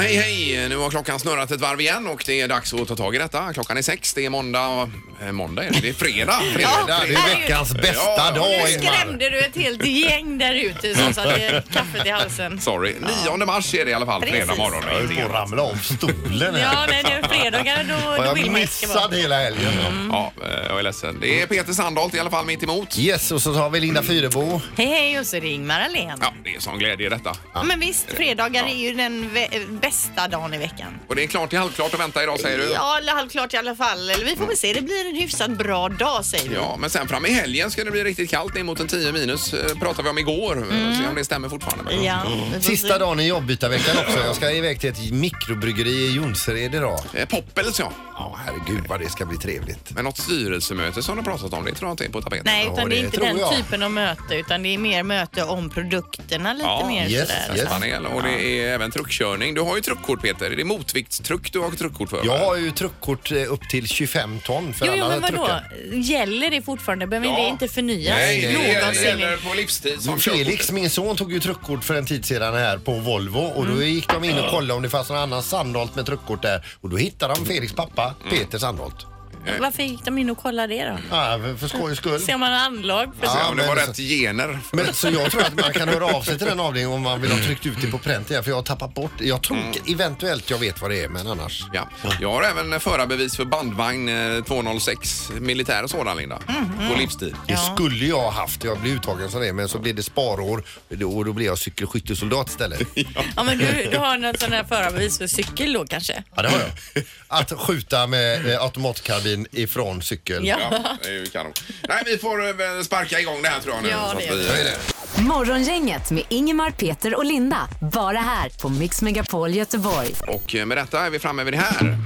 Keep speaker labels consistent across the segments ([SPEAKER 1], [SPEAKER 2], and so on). [SPEAKER 1] Hej, hej! Nu har klockan snurrat ett varv igen och det är dags att ta tag i detta. Klockan är sex, det är måndag. eh, Måndag är det, det är fredag.
[SPEAKER 2] Ja, det är veckans bästa
[SPEAKER 1] Ja, ja.
[SPEAKER 2] dag
[SPEAKER 1] Nu
[SPEAKER 3] Nu
[SPEAKER 2] Ingmar.
[SPEAKER 3] skrämde du ett helt gäng där ute som satte kaffet i halsen.
[SPEAKER 1] Sorry. 9 mars är det i alla fall,
[SPEAKER 3] Precis.
[SPEAKER 1] fredag morgon.
[SPEAKER 2] Jag höll på att ramla av stolen
[SPEAKER 3] Ja,
[SPEAKER 2] här.
[SPEAKER 3] nej, nu är det fredagar då,
[SPEAKER 2] Har
[SPEAKER 3] då
[SPEAKER 2] jag
[SPEAKER 3] vill man ju ska
[SPEAKER 2] missat
[SPEAKER 3] vara...
[SPEAKER 2] hela helgen?
[SPEAKER 1] Ja, eh, jag är ledsen. Det är Peter Sandholt i alla fall mitt emot.
[SPEAKER 2] Yes, och så har vi Linda Fyrebo.
[SPEAKER 3] Hej, hej och så är det Ingmar Ahlén.
[SPEAKER 1] Ja, det är sån glädje i detta.
[SPEAKER 3] Ja, Men visst, fredagar är ju den vä- bästa dagen i veckan.
[SPEAKER 1] Och det är klart till halvklart att vänta idag säger du?
[SPEAKER 3] Ja, eller halvklart i alla fall. Eller vi får väl se, det blir en hyfsat bra dag säger vi.
[SPEAKER 1] Ja, men sen fram i helgen ska det bli riktigt kallt ner mot en 10 minus. eh, pratade vi om igår. Mm. Se om det stämmer fortfarande.
[SPEAKER 3] Ja, vi får
[SPEAKER 2] Mm. Sista
[SPEAKER 3] se.
[SPEAKER 2] dagen i jobbbytarveckan också. Jag ska iväg till ett mikrobryggeri i Jonsered idag.
[SPEAKER 1] Eh, Poppels ja.
[SPEAKER 2] Ja, herregud vad det ska bli trevligt.
[SPEAKER 1] Men något styrelsemöte som de pratat om, det tror jag inte är på tapeten.
[SPEAKER 3] Nej,
[SPEAKER 2] Ja,
[SPEAKER 3] utan det
[SPEAKER 2] det
[SPEAKER 3] är inte
[SPEAKER 2] tror
[SPEAKER 3] den
[SPEAKER 2] jag.
[SPEAKER 3] typen av möte utan det är mer möte om produkterna lite
[SPEAKER 1] Ja,
[SPEAKER 3] mer
[SPEAKER 2] yes,
[SPEAKER 3] sådär.
[SPEAKER 2] yes.
[SPEAKER 1] Panel, och det är även truckkörning. Du har ju truckkort Peter. Är det motviktstruck du har truckkort för?
[SPEAKER 2] Jag har ju truckkort eh, upp till 25 ton för
[SPEAKER 3] Jo, jo,
[SPEAKER 2] alla
[SPEAKER 3] men vadå?
[SPEAKER 2] truckar.
[SPEAKER 3] Gäller det fortfarande? Behöver
[SPEAKER 1] Ja.
[SPEAKER 3] det inte förnyas?
[SPEAKER 1] Nej, det
[SPEAKER 2] Nej,
[SPEAKER 1] gäller-
[SPEAKER 3] Någonsin.
[SPEAKER 1] det gäller på livstid som
[SPEAKER 2] Felix, min son, tog ju truckkort för en tid sedan här på Volvo och
[SPEAKER 3] Mm.
[SPEAKER 2] då gick de in och kollade om det fanns någon annan Sandholt med truckkort där och då hittade de Felix pappa, Peter Sandholt.
[SPEAKER 3] Varför gick de in och kollade det då?
[SPEAKER 2] Ja, för- för skojs skull.
[SPEAKER 3] Ser man anlag? för-
[SPEAKER 1] körkort.
[SPEAKER 2] Ja,
[SPEAKER 1] Ja, om det
[SPEAKER 2] men-
[SPEAKER 1] var rätt gener.
[SPEAKER 2] Men, så jag tror att man kan höra av sig till den avdelningen om man vill ha tryckt ut det på pränt igen för jag har tappat bort Jag tror eventuellt jag vet vad det är men annars.
[SPEAKER 1] Ja. Jag har även förarbevis för bandvagn eh, 206, militär och sådan Linda.
[SPEAKER 3] Mm,
[SPEAKER 1] På livstid.
[SPEAKER 2] Det skulle jag ha haft. Jag blev uttagen som det men så blev det sparår och då- och då blev jag cykelskyttesoldat istället.
[SPEAKER 3] Ja, men du, du har något sån här förarbevis för cykel då kanske?
[SPEAKER 2] Ja, det har jag. Att skjuta med eh, automatkarbin ifrån cykel.
[SPEAKER 3] Ja.
[SPEAKER 1] Ja, det är ju kanon. Nej, vi får eh, väl sparka igång det här tror jag nu.
[SPEAKER 3] Ja,
[SPEAKER 1] så att
[SPEAKER 3] det gör
[SPEAKER 1] vi-
[SPEAKER 4] Morgongänget med Ingemar, Peter och Linda. Bara här på Mix Megapol Göteborg.
[SPEAKER 1] Och eh, med detta är vi framme vid det här.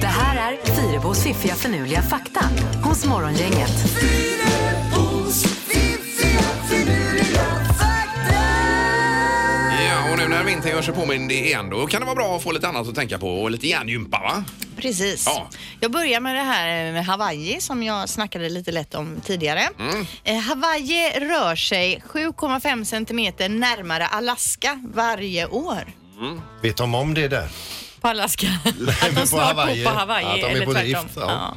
[SPEAKER 4] Det här är Fyrabos fiffiga förnuliga fakta hos Morgongänget.
[SPEAKER 1] Ja, och nu när vintern gör sig påmind igen då kan det vara bra att få lite annat att tänka på och lite hjärngympa va?
[SPEAKER 3] Precis.
[SPEAKER 1] Ja.
[SPEAKER 3] Jag börjar med det här med Hawaii som jag snackade lite lätt om tidigare. Eh, Hawaii rör sig 7,5 centimeter närmare Alaska varje år.
[SPEAKER 2] Vet de om det där?
[SPEAKER 3] På Alaska? Att de snart bor på Hawaii
[SPEAKER 2] Att de är
[SPEAKER 3] eller
[SPEAKER 2] på
[SPEAKER 3] tvärtom?
[SPEAKER 2] drift. Ja.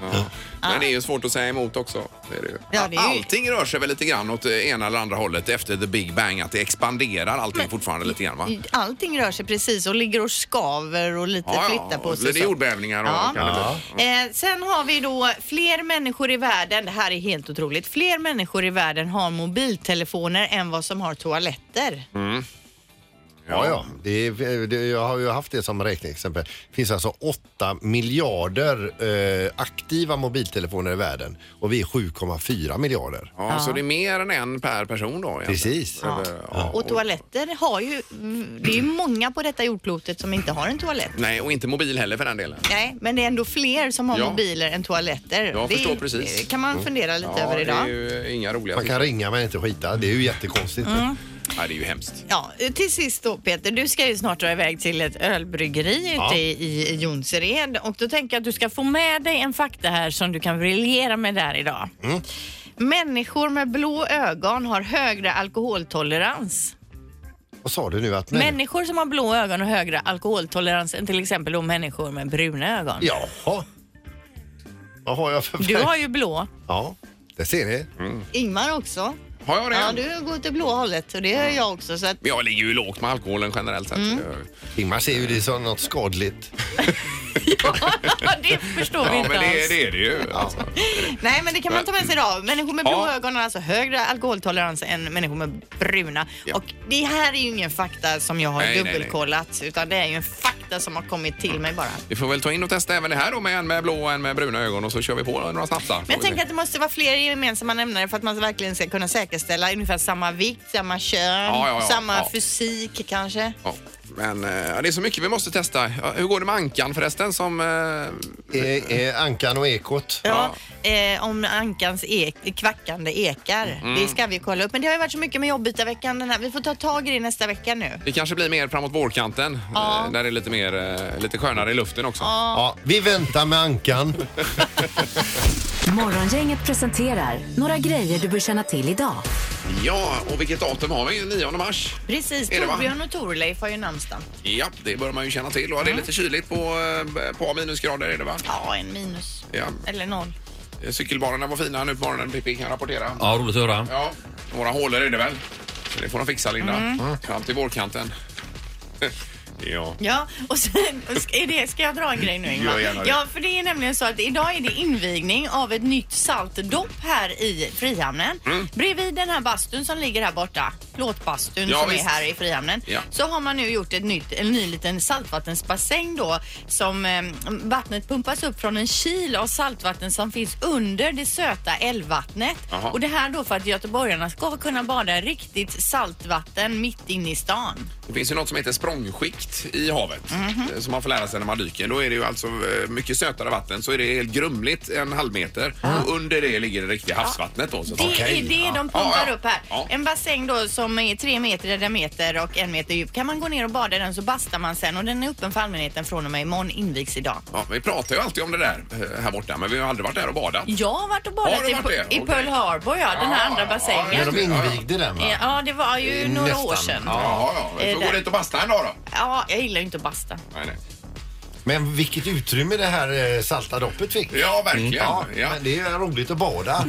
[SPEAKER 1] Men det är ju svårt att säga emot också. Det är det ju.
[SPEAKER 3] Ah. Ja, det är ju-
[SPEAKER 1] Allting rör sig väl lite grann åt det ena eller andra hållet efter the big bang, att det expanderar allting fortfarande lite grann va?
[SPEAKER 3] Allting rör sig precis och ligger och skaver och lite flyttar på sig.
[SPEAKER 1] blir det
[SPEAKER 3] så.
[SPEAKER 1] jordbävningar och
[SPEAKER 3] Ja.
[SPEAKER 1] kan det bli.
[SPEAKER 3] Eh, sen har vi då fler människor i världen, det här är helt otroligt, fler människor i världen har mobiltelefoner än vad som har toaletter.
[SPEAKER 1] Mm.
[SPEAKER 2] Ja, ja. Det är, det, jag har ju haft det som räkneexempel. Det finns alltså 8 miljarder eh, aktiva mobiltelefoner i världen och vi är 7,4 miljarder.
[SPEAKER 1] Ja, så det är mer än en per person då? egentligen.
[SPEAKER 2] Precis.
[SPEAKER 1] Eller, ja.
[SPEAKER 3] Och toaletter har ju, det är ju många på detta jordklotet som inte har en toalett.
[SPEAKER 1] Nej, och inte mobil heller för den delen.
[SPEAKER 3] Nej, men det är ändå fler som har
[SPEAKER 1] Ja.
[SPEAKER 3] mobiler än toaletter.
[SPEAKER 1] Jag
[SPEAKER 3] det
[SPEAKER 1] förstår precis. Mm.
[SPEAKER 3] det kan man fundera lite över
[SPEAKER 1] det är
[SPEAKER 3] idag.
[SPEAKER 1] ju inga roliga
[SPEAKER 2] Man
[SPEAKER 1] siffror.
[SPEAKER 2] kan ringa men inte skita. Det är ju jättekonstigt.
[SPEAKER 1] Nej, det är ju hemskt.
[SPEAKER 3] Ja, till sist då Peter, du ska ju snart dra iväg till ett ölbryggeri ute i i Jonsered och då tänker jag att du ska få med dig en fakta här som du kan briljera med där idag.
[SPEAKER 1] Mm.
[SPEAKER 3] Människor med blå ögon har högre alkoholtolerans.
[SPEAKER 2] Vad sa du nu? Att men...
[SPEAKER 3] Människor som har blå ögon har högre alkoholtolerans än till exempel då människor med bruna ögon.
[SPEAKER 2] Jaha. Vad har jag för
[SPEAKER 3] Du har ju blå.
[SPEAKER 2] Ja, det ser ni.
[SPEAKER 3] Ingmar också.
[SPEAKER 1] Har jag det?
[SPEAKER 3] Ja, du går till blå hållet och det gör jag också. Så att
[SPEAKER 1] Men jag ligger ju lågt med alkoholen generellt sett.
[SPEAKER 3] Mm.
[SPEAKER 2] Ingmar ser ju det som något skadligt.
[SPEAKER 3] det förstår vi
[SPEAKER 1] Ja,
[SPEAKER 3] inte
[SPEAKER 1] men det,
[SPEAKER 3] alls.
[SPEAKER 1] det är det ju. Alltså.
[SPEAKER 3] Nej, men det kan man ta med sig idag. Människor med blå
[SPEAKER 1] Ja.
[SPEAKER 3] ögon har alltså högre alkoholtolerans än människor med bruna.
[SPEAKER 1] Ja.
[SPEAKER 3] Och det här är ju ingen fakta som jag har
[SPEAKER 1] Nej, nej, nej.
[SPEAKER 3] dubbelkollat utan det är ju en fakta som har kommit till mig bara.
[SPEAKER 1] Vi får väl ta in och testa även det här då med en med blå och en med bruna ögon och så kör vi på några snapsar.
[SPEAKER 3] Men jag tänker att det måste vara fler gemensamma nämnare för att man verkligen ska kunna säkerställa ungefär samma vikt, samma kön,
[SPEAKER 1] Ja, ja, ja,
[SPEAKER 3] samma
[SPEAKER 1] ja.
[SPEAKER 3] fysik kanske.
[SPEAKER 1] Ja, men eh, det är så mycket vi måste testa. Ja, Hur går det med Ankan förresten som... eh,
[SPEAKER 2] Eh, eh, ankan och ekot.
[SPEAKER 3] Ja, eh, om ankans ek, kvackande ekar.
[SPEAKER 1] Mm.
[SPEAKER 3] Det ska vi kolla upp. Men det har ju varit så mycket med jobbytarveckan den här. Vi får ta tag i det nästa vecka nu.
[SPEAKER 1] Det kanske blir mer framåt vårkanten.
[SPEAKER 3] Ja.
[SPEAKER 1] eh, Där det är lite, mer, eh, lite skönare i luften också.
[SPEAKER 2] Ja, vi väntar med ankan.
[SPEAKER 4] Morgongänget presenterar några grejer du bör känna till idag.
[SPEAKER 1] Ja, och vilket datum har vi? 9 mars?
[SPEAKER 3] Precis,
[SPEAKER 1] Är det, va?
[SPEAKER 3] Torbjörn och Torleif har ju namnsdag.
[SPEAKER 1] Ja, det bör man ju känna till. Och det är lite kyligt på eh, ett par minusgrader är det va?
[SPEAKER 3] Ja, en minus.
[SPEAKER 1] Ja.
[SPEAKER 3] Eller noll.
[SPEAKER 1] Cykelbanorna var fina nu på morgonen, Pippi kan rapportera.
[SPEAKER 5] Ja, roligt att höra.
[SPEAKER 1] Ja, några hålor är det väl. Så det får de fixa Linda. Fram till vårkanten. ja.
[SPEAKER 3] Ja, och sen och ska, är det, ska jag dra en grej nu Ingmar?
[SPEAKER 1] Gör gärna det.
[SPEAKER 3] Ja, för det är nämligen så att idag är det invigning av ett nytt saltdopp här i Frihamnen.
[SPEAKER 1] Mm.
[SPEAKER 3] Bredvid den här bastun som ligger här borta, plåtbastun
[SPEAKER 1] Ja,
[SPEAKER 3] som
[SPEAKER 1] visst.
[SPEAKER 3] är här i Frihamnen,
[SPEAKER 1] Ja.
[SPEAKER 3] så har man nu gjort ett nytt, en ny liten saltvattensbassäng då som eh, vattnet pumpas upp från en kil av saltvatten som finns under det söta älvvattnet.
[SPEAKER 1] Jaha.
[SPEAKER 3] Och det här då för att göteborgarna ska kunna bada i riktigt saltvatten mitt inne i stan.
[SPEAKER 1] Det finns ju något som heter språngskikt i havet
[SPEAKER 3] Mhm.
[SPEAKER 1] eh, som man får lära sig när man dyker. Då är det ju alltså eh, mycket sötare vatten så är det helt grumligt en halv meter och under det ligger det riktiga havsvattnet då. Så att-
[SPEAKER 3] Det
[SPEAKER 1] Okej.
[SPEAKER 3] är det de
[SPEAKER 1] Ja,
[SPEAKER 3] pumpar
[SPEAKER 1] ja.
[SPEAKER 3] upp här.
[SPEAKER 1] Ja.
[SPEAKER 3] En bassäng då som är tre meter i diameter och en meter djup. Kan man gå ner och bada i den så bastar man sen och den är öppen för allmänheten från och med imorgon invigs idag.
[SPEAKER 1] Ja, vi pratar ju alltid om det där eh, här borta men vi har aldrig varit där och badat.
[SPEAKER 3] Jag har varit och
[SPEAKER 1] Har
[SPEAKER 3] badat
[SPEAKER 1] du
[SPEAKER 3] i,
[SPEAKER 1] varit det?
[SPEAKER 3] i
[SPEAKER 1] Okej.
[SPEAKER 3] Pearl Harbor, ja, den här
[SPEAKER 1] Ja,
[SPEAKER 3] andra
[SPEAKER 1] ja,
[SPEAKER 6] När
[SPEAKER 1] ja,
[SPEAKER 3] bassängen.
[SPEAKER 6] de invigde den va?
[SPEAKER 3] Ja, det var ju några år sedan. Ja.
[SPEAKER 1] Ja, ja, vi får
[SPEAKER 3] Eh,
[SPEAKER 1] gå dit och basta en dag då.
[SPEAKER 3] jag gillar ju inte att basta.
[SPEAKER 1] Nej, nej.
[SPEAKER 6] Men vilket utrymme det här eh, salta doppet fick.
[SPEAKER 1] Ja, verkligen.
[SPEAKER 3] Mm.
[SPEAKER 6] Ja,
[SPEAKER 1] Ja.
[SPEAKER 6] Men det är roligt att bada.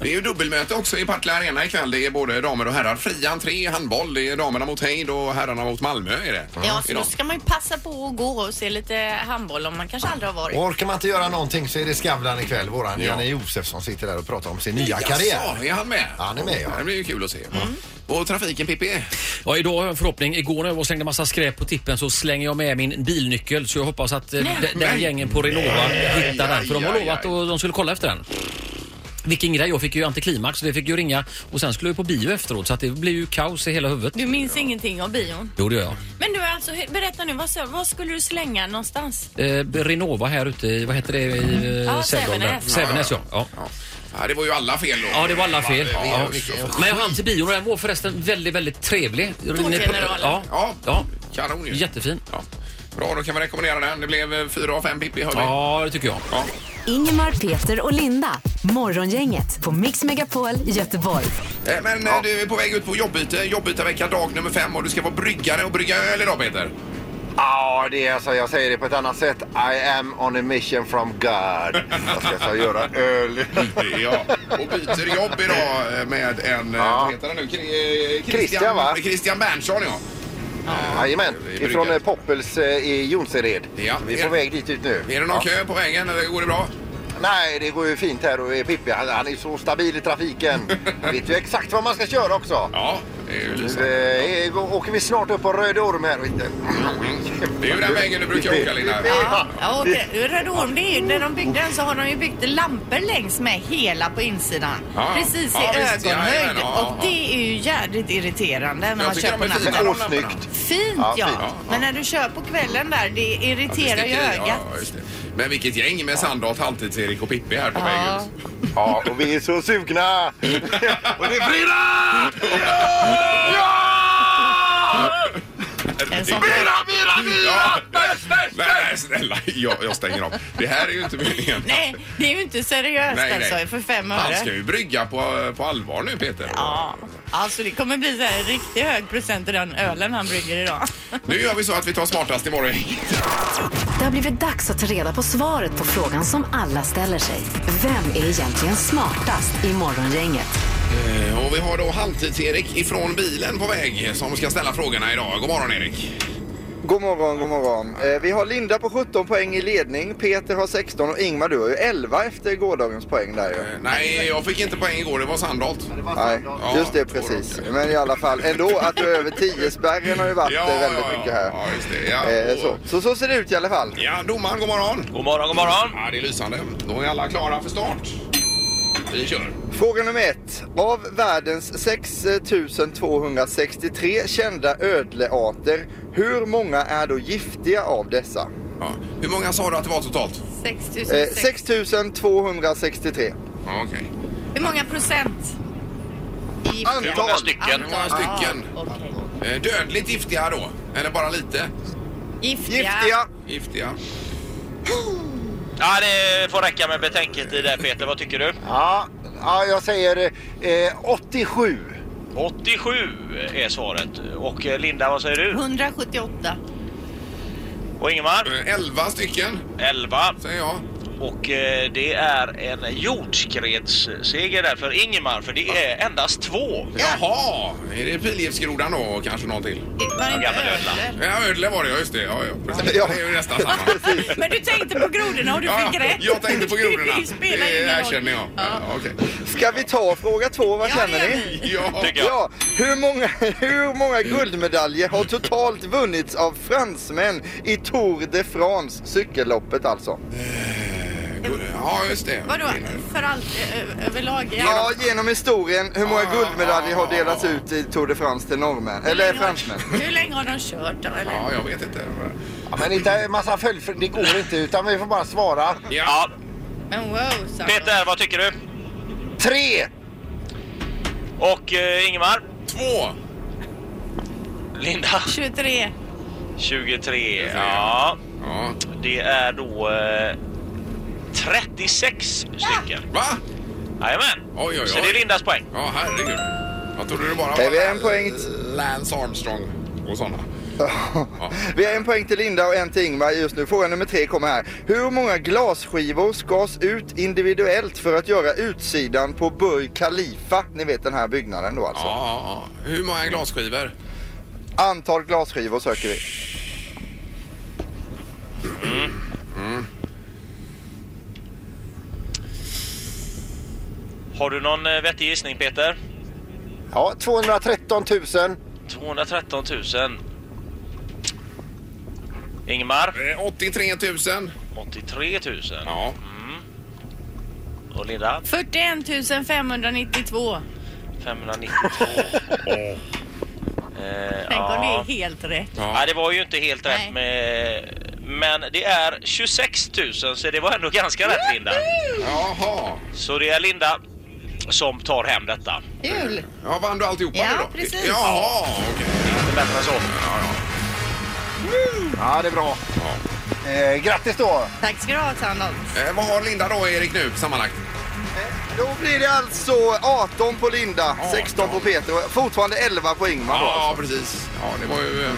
[SPEAKER 1] Det är ju dubbelmöte också i Partille Arena ikväll. Det är både damer och herrar. Fri entré i handboll. Det är damerna mot Heid och herrarna mot Malmö är det.
[SPEAKER 3] Ja, så då
[SPEAKER 1] idag.
[SPEAKER 3] ska man ju passa på att gå och se lite handboll om man kanske aldrig har varit.
[SPEAKER 6] Och orkar man inte göra någonting så är det Skavlan ikväll. Våran
[SPEAKER 1] Ja.
[SPEAKER 6] Janne Josefsson sitter där och pratar om sin nya
[SPEAKER 1] Jaså,
[SPEAKER 6] karriär.
[SPEAKER 1] är han med?
[SPEAKER 6] Han är med, ja.
[SPEAKER 1] Det blir ju kul att se. Och trafiken, Pippi?
[SPEAKER 5] Ja, idag har jag en förhoppning. Igår när jag var och slängde massa skräp på tippen så slänger jag med min bilnyckel så jag hoppas att eh,
[SPEAKER 3] Nej.
[SPEAKER 5] d- den
[SPEAKER 1] Nej.
[SPEAKER 5] gängen på Renova hittar den. För de har
[SPEAKER 1] aj,
[SPEAKER 5] lovat
[SPEAKER 1] aj.
[SPEAKER 5] och de skulle kolla efter den. Vilken grej. Jag fick ju antiklimax så det fick ju ringa och sen skulle jag ju på bio efteråt så att det blev ju kaos i hela huvudet.
[SPEAKER 3] Du minns ingenting av bion.
[SPEAKER 5] Jo, det gör jag.
[SPEAKER 3] Men du, alltså, berätta nu, vad, sa- vad skulle du slänga någonstans?
[SPEAKER 5] Eh, Renova här ute i, vad heter det, i eh,
[SPEAKER 3] Ja,
[SPEAKER 5] Sävedalen där.
[SPEAKER 3] Sävenäs.
[SPEAKER 5] Sävenäs, ja. ja.
[SPEAKER 1] Ja. Ja, det var ju alla fel då.
[SPEAKER 5] Ja, det var alla fel.
[SPEAKER 1] Ja,
[SPEAKER 5] Ja.
[SPEAKER 1] usch.
[SPEAKER 5] Men jag hann till bion och den var förresten väldigt, väldigt trevlig.
[SPEAKER 3] Tåggeneralen.
[SPEAKER 5] Ja,
[SPEAKER 1] Ja,
[SPEAKER 5] ja.
[SPEAKER 1] kanon ju.
[SPEAKER 5] Jättefin.
[SPEAKER 1] Ja. Bra, då kan vi rekommendera den. Det blev eh, fyra av fem Pippi, hör vi.
[SPEAKER 5] Ja, det tycker jag.
[SPEAKER 1] Ja.
[SPEAKER 4] Ingemar, Peter och Linda. Morgongänget på Mix Megapol Göteborg.
[SPEAKER 1] Eh, Men eh, du är på väg ut på jobbyte, jobbytevecka dag nummer fem och du ska vara bryggare och brygga öl idag Peter.
[SPEAKER 2] Ja, det är så. Jag säger det på ett annat sätt. I am on a mission from God. Jag ska alltså göra öl.
[SPEAKER 1] Ja, och byter jobb idag eh, med en, eh,
[SPEAKER 2] Ja.
[SPEAKER 1] vad heter han nu, Kri- eh,
[SPEAKER 2] Christian, va?
[SPEAKER 1] Christian Berntsson ja.
[SPEAKER 2] Jajamän,
[SPEAKER 1] Vi brukar-
[SPEAKER 2] ifrån eh, Poppels eh, i Jonsered.
[SPEAKER 1] Ja.
[SPEAKER 2] Vi är på väg dit ut nu.
[SPEAKER 1] Är det någon kö på vägen eller går det bra?
[SPEAKER 2] Nej, det går ju fint här och eh, Pippi han, han är så stabil i trafiken. Han vet ju exakt vad man ska köra också.
[SPEAKER 1] Ja, det är ju
[SPEAKER 2] Nu
[SPEAKER 1] lysande.
[SPEAKER 2] eh, går- åker vi snart upp på Röde Orm här. och inte-
[SPEAKER 1] Mm. Det är ju den vägen du brukar åka Linda.
[SPEAKER 3] Ja, ja, och det- Röda Orm, det är ju, när de byggde den så har de ju byggt lampor längs med hela på insidan.
[SPEAKER 1] Ja,
[SPEAKER 3] Precis i
[SPEAKER 1] ja, visst,
[SPEAKER 3] ögonhöjd.
[SPEAKER 1] jajamän, ja,
[SPEAKER 3] och
[SPEAKER 1] ja.
[SPEAKER 3] det är ju jädrigt irriterande när
[SPEAKER 1] Jag
[SPEAKER 3] man
[SPEAKER 1] tycker
[SPEAKER 3] kör
[SPEAKER 1] de
[SPEAKER 3] på
[SPEAKER 1] är
[SPEAKER 3] natten.
[SPEAKER 1] fina.
[SPEAKER 2] Men åsnyggt.
[SPEAKER 3] Fint
[SPEAKER 2] Ja,
[SPEAKER 3] ja,
[SPEAKER 2] fint,
[SPEAKER 1] ja, ja.
[SPEAKER 3] men när du kör på kvällen där, det
[SPEAKER 1] Att det
[SPEAKER 3] irriterar ju
[SPEAKER 1] sticker i, ja,
[SPEAKER 3] ögat.
[SPEAKER 1] ja, just det. Men vilket gäng med Sandholt, Halvtids-Erik och Pippi här på väg
[SPEAKER 3] Ja.
[SPEAKER 1] ut.
[SPEAKER 2] Ja, och vi är så sugna.
[SPEAKER 1] Och det är fredag! Ja!
[SPEAKER 3] En sån-
[SPEAKER 1] bira, Nej, snälla, jag, jag stänger av. Det här är ju inte meningen.
[SPEAKER 3] Nej, det är ju inte seriöst
[SPEAKER 1] Nej, nej.
[SPEAKER 3] alltså för fem
[SPEAKER 1] Han ska
[SPEAKER 3] öre.
[SPEAKER 1] ju brygga på, på allvar nu, Peter.
[SPEAKER 3] Ja, alltså det kommer bli så här en riktigt hög procent i den ölen han brygger idag.
[SPEAKER 1] Nu gör vi så att vi tar smartast imorgon.
[SPEAKER 4] Det har blivit dags att ta reda på svaret på frågan som alla ställer sig. Vem är egentligen smartast i Morgongänget?
[SPEAKER 1] Eh, Och vi har då Halvtids-Erik ifrån bilen på väg som ska ställa frågorna idag. God morgon, Erik.
[SPEAKER 7] God morgon, god morgon. Eh, vi har Linda på 17 poäng i ledning, Peter har 16 och Ingmar du har ju 11 efter gårdagens poäng där ju.
[SPEAKER 1] Eh, Nej, jag fick inte poäng igår. Det var Sandholt.
[SPEAKER 7] Nej,
[SPEAKER 1] Ja,
[SPEAKER 7] just det
[SPEAKER 1] två
[SPEAKER 7] precis.
[SPEAKER 1] raka.
[SPEAKER 7] Men i alla fall ändå att du är över 10-spärren har ju varit eh, väldigt mycket här.
[SPEAKER 1] Ja, just det. Ja,
[SPEAKER 7] Eh,
[SPEAKER 1] och-
[SPEAKER 7] så. så så ser det ut i alla fall.
[SPEAKER 1] Ja, domaren, god morgon.
[SPEAKER 8] God morgon, god morgon.
[SPEAKER 1] Ja, det är lysande. Då är alla klara för start. Vi kör.
[SPEAKER 7] Fråga nummer ett. Av världens 6263 kända ödlearter, hur många är då giftiga av dessa?
[SPEAKER 1] Ja. Hur många sa du att det var totalt?
[SPEAKER 3] 6000.
[SPEAKER 7] Eh, 6263.
[SPEAKER 1] Ja, okej.
[SPEAKER 3] Hur många procent? I
[SPEAKER 8] Hur många
[SPEAKER 7] Antal.
[SPEAKER 1] Okay.
[SPEAKER 8] stycken?
[SPEAKER 1] Några stycken.
[SPEAKER 3] Okej.
[SPEAKER 1] Eh, Dödligt giftiga då? Eller bara lite?
[SPEAKER 3] Giftiga.
[SPEAKER 7] Giftiga.
[SPEAKER 1] Giftiga.
[SPEAKER 9] Ja, det får räcka med betänketid där Peter. Vad tycker du?
[SPEAKER 2] Ja, ja jag säger eh, 87.
[SPEAKER 9] 87 är svaret. Och eh, Linda, vad säger du?
[SPEAKER 3] 178.
[SPEAKER 9] Och Ingemar?
[SPEAKER 1] Eh, 11 stycken
[SPEAKER 9] 11.
[SPEAKER 1] säger jag.
[SPEAKER 9] Och eh, det är en jordskredsseger där för Ingemar, för det är endast två.
[SPEAKER 1] Jaha, är det pilgiftsgrodan då och kanske någon till?
[SPEAKER 3] Var det inte
[SPEAKER 9] gammal ödla.
[SPEAKER 3] ödler?
[SPEAKER 1] Ja, ödle var det ja, just det. Ja, ja, precis.
[SPEAKER 7] Ja.
[SPEAKER 1] Det är ju nästan samma.
[SPEAKER 3] Men du tänkte på grodorna och du
[SPEAKER 1] Ja,
[SPEAKER 3] fick rätt.
[SPEAKER 1] jag tänkte på grodorna.
[SPEAKER 3] Det spelar
[SPEAKER 1] Det
[SPEAKER 3] ingen
[SPEAKER 1] erkänner
[SPEAKER 3] roll.
[SPEAKER 1] jag. Ja, okej.
[SPEAKER 7] Ska vi ta fråga två? Vad
[SPEAKER 3] Ja, det
[SPEAKER 7] känner
[SPEAKER 3] gör
[SPEAKER 7] ni?
[SPEAKER 3] vi.
[SPEAKER 1] Ja,
[SPEAKER 9] Tycker jag.
[SPEAKER 7] Ja, hur många, hur många guldmedaljer har totalt vunnits av fransmän i Tour de France, cykelloppet alltså?
[SPEAKER 1] god- ja, just det.
[SPEAKER 3] Vadå? För allt eh, överlag?
[SPEAKER 7] Ja, genom historien, hur många
[SPEAKER 9] Ah.
[SPEAKER 1] Ja,
[SPEAKER 7] guldmedaljer har
[SPEAKER 1] ja,
[SPEAKER 7] delats
[SPEAKER 1] ja.
[SPEAKER 7] ut i Tour de France till norrmän, eller fransmän?
[SPEAKER 3] Hur länge har de kört då? Eller?
[SPEAKER 1] Ja, jag vet inte.
[SPEAKER 2] Ja, men inte en massa följdfrågor, det går inte utan vi får bara svara.
[SPEAKER 1] Ja,
[SPEAKER 9] Ja,
[SPEAKER 3] Men wow, Sandra.
[SPEAKER 9] Peter, vad tycker du?
[SPEAKER 2] Tre!
[SPEAKER 9] Och eh, Ingemar?
[SPEAKER 1] två.
[SPEAKER 9] Linda?
[SPEAKER 3] 23.
[SPEAKER 9] 23. Ja,
[SPEAKER 1] Ja.
[SPEAKER 9] det är då eh, 36 stycken.
[SPEAKER 1] Va?
[SPEAKER 9] Jajamän.
[SPEAKER 1] Oj, oj, oj.
[SPEAKER 9] Så det är Lindas poäng.
[SPEAKER 1] Ja, herregud. Jag trodde det bara
[SPEAKER 7] Är vi en poäng?
[SPEAKER 1] Lance Armstrong och sådana.
[SPEAKER 7] Vi har en poäng till Linda och en till Ingmar just nu. Fråga nummer tre kommer här. Hur många glasskivor skars ut individuellt för att göra utsidan på Burj Khalifa? Ni vet den här byggnaden då
[SPEAKER 1] Ja,
[SPEAKER 7] alltså.
[SPEAKER 1] ja, ja. Hur många glasskivor?
[SPEAKER 7] Antal glasskivor söker vi.
[SPEAKER 9] Har du någon eh, vettig gissning Peter?
[SPEAKER 2] Ja, 213 000.
[SPEAKER 9] 213 000. Ingmar?
[SPEAKER 1] Eh, 83 000.
[SPEAKER 9] 83 000.
[SPEAKER 1] Ja.
[SPEAKER 9] Och Linda?
[SPEAKER 3] 41 592.
[SPEAKER 9] 592. eh,
[SPEAKER 3] Tänk om det är
[SPEAKER 9] ja.
[SPEAKER 3] helt rätt.
[SPEAKER 1] ja.
[SPEAKER 9] ja, det var ju inte helt
[SPEAKER 3] Nej.
[SPEAKER 9] rätt med... Men det är 26 000 så det var ändå ganska rätt Linda.
[SPEAKER 1] Jaha.
[SPEAKER 9] Så det är Linda som tar hem detta.
[SPEAKER 3] Kul!
[SPEAKER 1] Ja, vann du alltihopa
[SPEAKER 3] Ja,
[SPEAKER 1] nu då?
[SPEAKER 3] precis.
[SPEAKER 1] Jaha, okej.
[SPEAKER 9] Inte bättre än så.
[SPEAKER 2] Ja, det är bra. Eh, grattis då!
[SPEAKER 3] Tack ska du ha, Sandholt.
[SPEAKER 1] Eh, vad har Linda då, Erik, nu sammanlagt?
[SPEAKER 7] Då blir det alltså 18 på Linda, 16 på Peter och fortfarande 11 på Ingmar. då.
[SPEAKER 1] Ja, precis. Ja, det var ju... eh,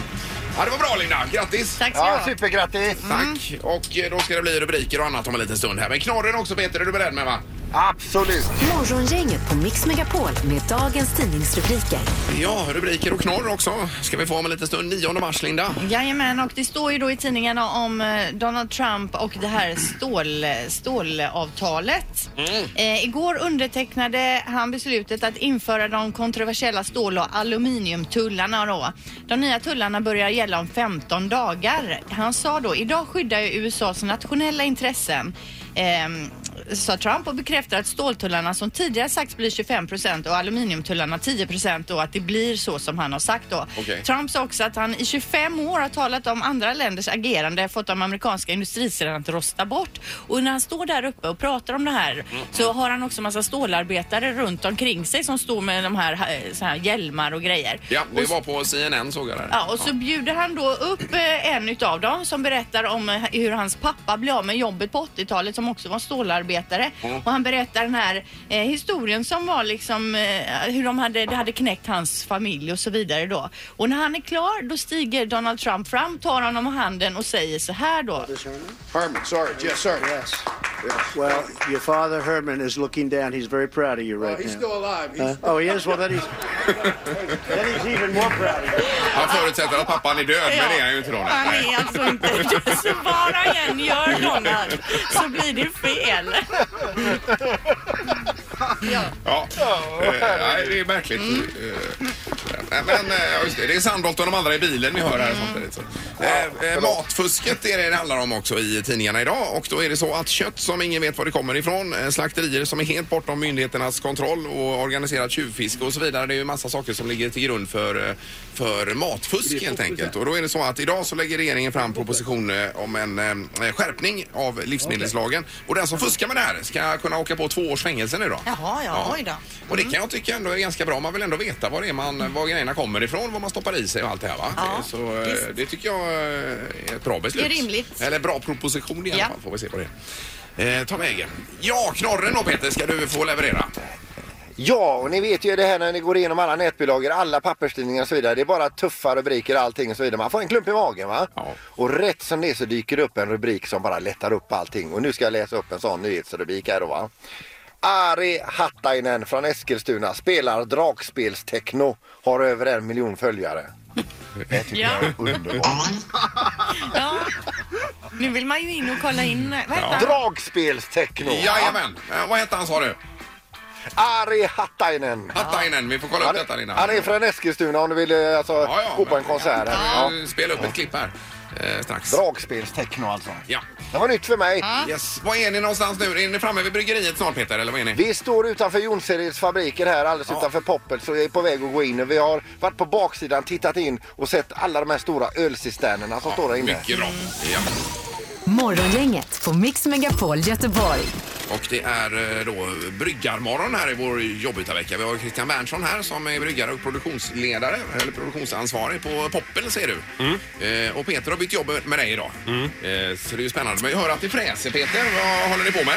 [SPEAKER 1] Ja, det var bra, Linda. Grattis!
[SPEAKER 3] Tack Mm. ska du
[SPEAKER 2] Ja,
[SPEAKER 3] ha.
[SPEAKER 2] supergrattis!
[SPEAKER 1] Tack! Och eh, då ska det bli rubriker och annat om en liten stund här. Men knorren också, Peter, är du beredd med va?
[SPEAKER 2] Absolut!
[SPEAKER 4] Morgongänget på Mix Megapol med dagens tidningsrubriker.
[SPEAKER 1] Ja, rubriker och knorr också ska vi få om en liten stund. 9 mars, Linda.
[SPEAKER 3] Jajamän, och det står ju då i tidningarna om eh, Donald Trump och det här stål, stålavtalet. Eh, igår undertecknade han beslutet att införa de kontroversiella stål och aluminiumtullarna då. De nya tullarna börjar gälla om 15 dagar. Han sa då, idag skyddar jag USAs nationella intressen. Ehm, sa Trump och bekräftar att ståltullarna som tidigare sagts blir 25 procent och aluminiumtullarna 10 procent och att det blir så som han har sagt då.
[SPEAKER 1] Okej.
[SPEAKER 3] Trump sa också att han i 25 år har talat om andra länders agerande, fått de amerikanska industriserna att rosta bort. Och när han står där uppe och pratar om det här så har han också massa stålarbetare runt omkring sig som står med de här, eh, så här hjälmar och grejer.
[SPEAKER 1] Ja,
[SPEAKER 3] Och
[SPEAKER 1] det var på CNN såg jag där.
[SPEAKER 3] Ja, och så bjuder han då upp eh, en utav dem som berättar om eh, hur hans pappa blev av med jobbet på 80-talet som också var stålarbetare.
[SPEAKER 1] Mm.
[SPEAKER 3] Och han berättar den här eh, historien som var liksom eh, hur de hade, det hade knäckt hans familj och så vidare då. Och när han är klar då stiger Donald Trump fram, tar honom i handen och säger så här då.
[SPEAKER 10] Herman, sorry, yes, sir. Yes. Well, your father Herman is looking down. He's very proud of you right
[SPEAKER 11] he's
[SPEAKER 10] now.
[SPEAKER 11] still alive. He's-
[SPEAKER 10] Huh? oh, he is. Well, then he's then he's even more proud of you.
[SPEAKER 1] Han förutsätter att pappan är död, men det är han ju inte då. nej.
[SPEAKER 3] Han
[SPEAKER 1] Nej.
[SPEAKER 3] är alltså inte... Så vad han än gör Donald så blir det fel.
[SPEAKER 1] Ja. Eh, nej, det är märkligt.
[SPEAKER 3] Mm.
[SPEAKER 1] Eh, Men eh, ja, just det, det är Sandholt och de andra i bilen ni hör här
[SPEAKER 3] Mm.
[SPEAKER 1] samtidigt. så. Eh, eh, matfusket är det det handlar om också i tidningarna idag och då är det så att kött som ingen vet var det kommer ifrån, eh, slakterier som är helt bortom myndigheternas kontroll och organiserat tjuvfiske och så vidare. Det är ju massa saker som ligger till grund för, eh, för matfusk helt enkelt. Och då är det så att idag så lägger regeringen fram proposition eh, om en eh, skärpning av livsmedelslagen och den som fuskar med det här ska kunna åka på två års fängelse nu då.
[SPEAKER 3] Jaha, ja, oj då.
[SPEAKER 1] Och det kan jag tycka ändå är ganska bra. Man vill ändå veta var, det är man, var grejerna kommer ifrån, vad man stoppar i sig och allt det här va?
[SPEAKER 3] Ja,
[SPEAKER 1] Så eh, det tycker jag eh, ett bra beslut.
[SPEAKER 3] Det är rimligt.
[SPEAKER 1] Eller bra proposition i alla
[SPEAKER 3] Ja.
[SPEAKER 1] fall får vi se på det. Eh, ta vägen. Ja, knorren då Peter ska du få leverera.
[SPEAKER 2] Ja, och ni vet ju det här när ni går igenom alla nätbilagor, alla papperstidningar och så vidare. Det är bara tuffa rubriker och allting och så vidare. Man får en klump i magen va?
[SPEAKER 1] Ja.
[SPEAKER 2] Och rätt som det är så dyker det upp en rubrik som bara lättar upp allting. Och nu ska jag läsa upp en sån nyhetsrubrik här då va. Ari Hattainen från Eskilstuna spelar dragspelstechno, har över en miljon följare. Det tycker
[SPEAKER 3] Ja.
[SPEAKER 2] jag är underbart.
[SPEAKER 3] Ja. Nu vill man ju in och kolla in. Vad heter han?
[SPEAKER 2] Dragspelstechno!
[SPEAKER 1] Jajamän. Eh, vad hette han sa du?
[SPEAKER 2] Ari Hattainen.
[SPEAKER 1] Hattainen. Vi får kolla upp
[SPEAKER 2] Han
[SPEAKER 1] detta
[SPEAKER 2] är,
[SPEAKER 1] innan.
[SPEAKER 2] han är från Eskilstuna om du vill eh, alltså,
[SPEAKER 1] Ja, ja,
[SPEAKER 2] gå på
[SPEAKER 1] men-
[SPEAKER 2] en konsert. här.
[SPEAKER 1] Ja.
[SPEAKER 2] Ja.
[SPEAKER 1] Spela Eh, upp ett klipp här eh, strax.
[SPEAKER 2] Dragspelstechno alltså.
[SPEAKER 1] Ja.
[SPEAKER 2] Det var nytt för mig.
[SPEAKER 1] Yes. Var är ni någonstans nu? Är ni framme vid bryggeriet snart Peter eller var är ni?
[SPEAKER 2] Vi står utanför Jonsereds fabriker här alldeles utanför Poppel så jag är på väg att gå in. Vi har varit på baksidan, tittat in och sett alla de här stora ölcisternerna som står där inne.
[SPEAKER 1] Mycket bra. Ja.
[SPEAKER 4] Morgongänget på Mix Megapol Göteborg.
[SPEAKER 1] Och det är eh, då bryggarmorgon här i vår jobbytarvecka. Vi har ju Christian Berntsson här som är bryggare och produktionsledare, eller produktionsansvarig på Poppel ser du. Eh, och Peter har bytt jobb med dig idag. Eh, så det är ju spännande. Men jag hör att det fräser Peter. Vad håller ni på med?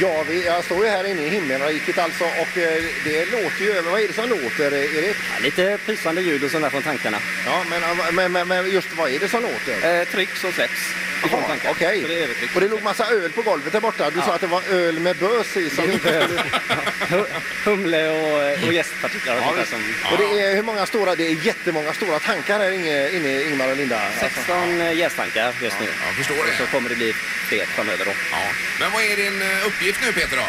[SPEAKER 2] Ja, vi, jag står ju här inne i himmelriket alltså och eh, det låter ju över. Vad är det som låter eh, Erik?
[SPEAKER 9] Lite pysande ljud och sånt där från tankarna.
[SPEAKER 2] Ja, men, eh, men, men, men just vad är det som låter?
[SPEAKER 9] Eh, tryck som släpps ifrån
[SPEAKER 2] Jaha,
[SPEAKER 9] tankarna.
[SPEAKER 2] Okej,
[SPEAKER 9] Så det är övertryck.
[SPEAKER 2] och det låg massa öl på golvet där borta. Du sa att det var öl med bös i. Som inte...
[SPEAKER 9] Hu- Humle och, och jästpartiklar och sånt där
[SPEAKER 2] visst.
[SPEAKER 9] som...
[SPEAKER 2] Och det är, hur många stora, det är jättemånga stora tankar här inne, inne Ingmar och Linda. Alltså.
[SPEAKER 9] 16 eh, jästankar just nu.
[SPEAKER 1] Jag förstår
[SPEAKER 9] Och så
[SPEAKER 1] det.
[SPEAKER 9] kommer det bli fler framöver då.
[SPEAKER 1] Ja. Men vad är din eh, uppgift nu Peter då?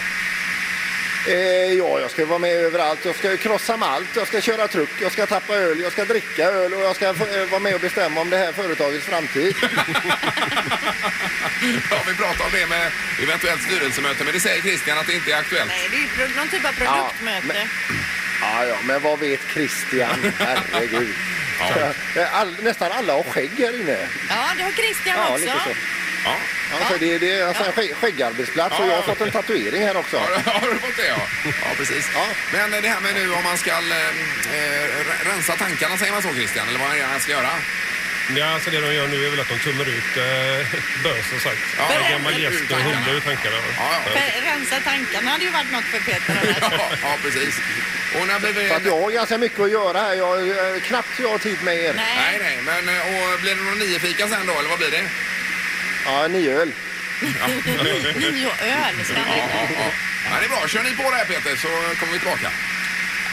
[SPEAKER 2] Eh, ja, jag ska vara med överallt. Jag ska ju krossa malt, jag ska köra truck, jag ska tappa öl, jag ska dricka öl och jag ska få, eh, vara med och bestämma om det här företagets framtid.
[SPEAKER 1] ja, vi pratar om det med eventuellt styrelsemöte, men det säger Christian att det inte är aktuellt.
[SPEAKER 3] Nej, det är ju pro- någon typ av produktmöte.
[SPEAKER 2] ja, ja, men vad vet Christian? Herregud. Eh, All, nästan alla har skägg här inne.
[SPEAKER 3] Ja, det har Christian
[SPEAKER 9] Ja,
[SPEAKER 3] också.
[SPEAKER 9] lite så.
[SPEAKER 1] Ja.
[SPEAKER 2] Alltså, det, det är alltså en skägg, skäggarbetsplats och jag har fått en tatuering här också.
[SPEAKER 1] Har, har du fått det ja? Ja precis.
[SPEAKER 2] Ja.
[SPEAKER 1] Men eh, det här med nu om man ska eh, eh, re- rensa tankarna, säger man så Christian? Eller vad är det han ska göra?
[SPEAKER 12] Ja, alltså det de gör nu är väl att de tömmer ut eh, bös som sagt.
[SPEAKER 1] Ja,
[SPEAKER 12] Det är gammal
[SPEAKER 1] tömmer ut
[SPEAKER 12] jäst och humle ur tankarna.
[SPEAKER 1] Ja, ja.
[SPEAKER 3] För rensa tankarna hade ju varit något för Peter. och Lars.
[SPEAKER 1] Ja, ja precis. Och när blir
[SPEAKER 2] Så att
[SPEAKER 1] det...
[SPEAKER 2] jag har ganska mycket att göra här. Jag, eh, knappt så jag har tid med er.
[SPEAKER 1] Nej,
[SPEAKER 3] Nej.
[SPEAKER 1] nej, men eh, och blir det någon niofika sen då, eller vad blir det?
[SPEAKER 2] Ja, ni öl.
[SPEAKER 3] Nio öl ska han dricka.
[SPEAKER 1] Ja, ja. ja, det är bra. Kör ni på det här Peter så kommer vi tillbaka.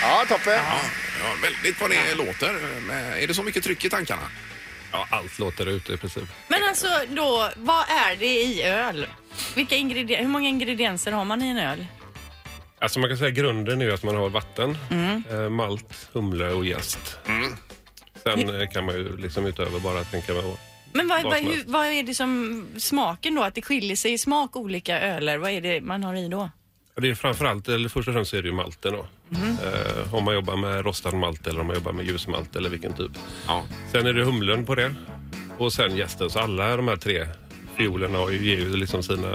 [SPEAKER 2] Ja, toppen.
[SPEAKER 1] Ja, ja väldigt vad det låter. Men Är det så mycket tryck i tankarna?
[SPEAKER 12] Ja, allt låter ute i princip.
[SPEAKER 3] Men alltså då, vad är det i öl? Vilka ingredienser, hur många ingredienser har man i en öl?
[SPEAKER 12] Alltså man kan säga grunden är ju att man har vatten, eh, malt, humle och jäst. Sen eh, kan man ju liksom utöver bara tänka med
[SPEAKER 3] Men vad,
[SPEAKER 12] Vad
[SPEAKER 3] vad,
[SPEAKER 12] som
[SPEAKER 3] hur,
[SPEAKER 12] helst.
[SPEAKER 3] vad är det som smaken då? Att det skiljer sig i smak olika öler? Vad är det man har i då?
[SPEAKER 12] Ja, Det är framförallt, eller först och främst så är det ju malten då. Eh, om man jobbar med rostad malt eller om man jobbar med ljusmalt eller vilken typ.
[SPEAKER 1] Ja.
[SPEAKER 12] Sen är det humlen på det och sen jästen. Så alla de här tre fiolerna har ju, ger ju liksom sina...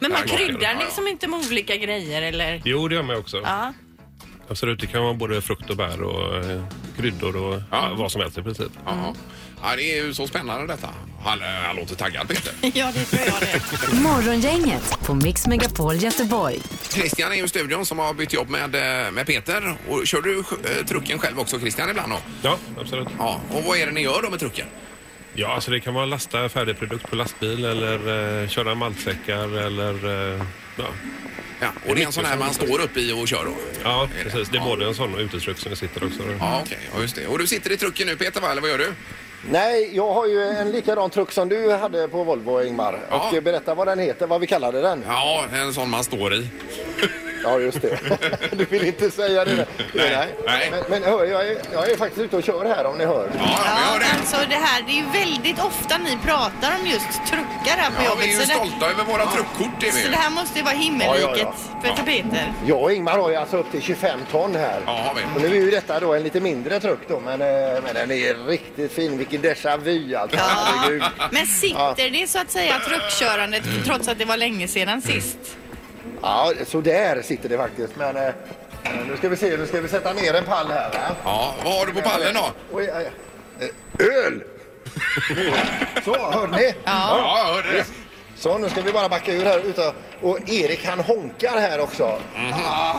[SPEAKER 3] Men man
[SPEAKER 12] smaker.
[SPEAKER 3] kryddar liksom inte med olika grejer eller?
[SPEAKER 12] Jo, det gör man ju också.
[SPEAKER 3] Ja.
[SPEAKER 12] Absolut, det kan vara både frukt och bär och eh, kryddor och ja, vad som helst i princip.
[SPEAKER 1] Ja. ja, det är ju så spännande detta. Han, eh, han låter taggad Peter.
[SPEAKER 3] Ja, det tror jag det.
[SPEAKER 4] Morgongänget på Mix Megapol Göteborg.
[SPEAKER 1] Christian är ju i studion som har bytt jobb med, eh, med Peter. Och kör du eh, trucken själv också Christian ibland då?
[SPEAKER 12] Ja, absolut.
[SPEAKER 1] Ja, och vad är det ni gör då med trucken?
[SPEAKER 12] Ja, alltså det kan vara lasta färdig produkt på lastbil eller eh, köra maltsäckar eller... Eh, ja.
[SPEAKER 1] Ja, och det är en sån här man står upp i och kör då?
[SPEAKER 12] ja, precis. Det är både en sån och utestruck som vi sitter också.
[SPEAKER 1] Ja, okej. Ja, just det. Och du sitter i trucken nu Peter, va? eller vad gör du?
[SPEAKER 2] Nej, jag har ju en likadan truck som du hade på Volvo, Ingmar.
[SPEAKER 1] Ja.
[SPEAKER 2] Och eh, berätta vad den heter, vad vi kallade den.
[SPEAKER 1] Ja, en sån man står i.
[SPEAKER 2] Ja, just det. Du vill inte säga det. där.
[SPEAKER 1] Nej, nej.
[SPEAKER 2] Men, men hör, jag är, jag är faktiskt ute och kör här om ni hör.
[SPEAKER 1] Ja, vi
[SPEAKER 3] Ja,
[SPEAKER 1] hör det.
[SPEAKER 3] alltså det här, det är ju väldigt ofta ni pratar om just truckar här på
[SPEAKER 1] Ja,
[SPEAKER 3] jobbet.
[SPEAKER 1] vi är ju
[SPEAKER 3] så, det,
[SPEAKER 1] stolta över våra truckkort. Är vi.
[SPEAKER 3] så det
[SPEAKER 1] ju.
[SPEAKER 3] här måste ju vara himmelriket
[SPEAKER 2] Ja,
[SPEAKER 3] för Peter.
[SPEAKER 2] Jag och Ingmar har ju alltså upp till 25 ton här.
[SPEAKER 1] Ja, har vi.
[SPEAKER 2] Och nu är ju detta då en lite mindre truck då, men, eh, men den är riktigt fin. Vilken déjà vu alltså. Herregud.
[SPEAKER 3] Men sitter det så att säga truckkörandet
[SPEAKER 12] Mm.
[SPEAKER 3] trots att det var länge sedan sist?
[SPEAKER 2] Ja, så där sitter det faktiskt. Men eh, nu ska vi se, nu ska vi sätta ner en pall här. Va?
[SPEAKER 1] Ja, vad har du på pallen då?
[SPEAKER 2] Oj, aj, aj. Eh, Öl! Så, hörde ni?
[SPEAKER 1] Ja, jag hörde det.
[SPEAKER 2] Så, nu ska vi bara backa ur här. Utan, och Erik han honkar här också. Ah.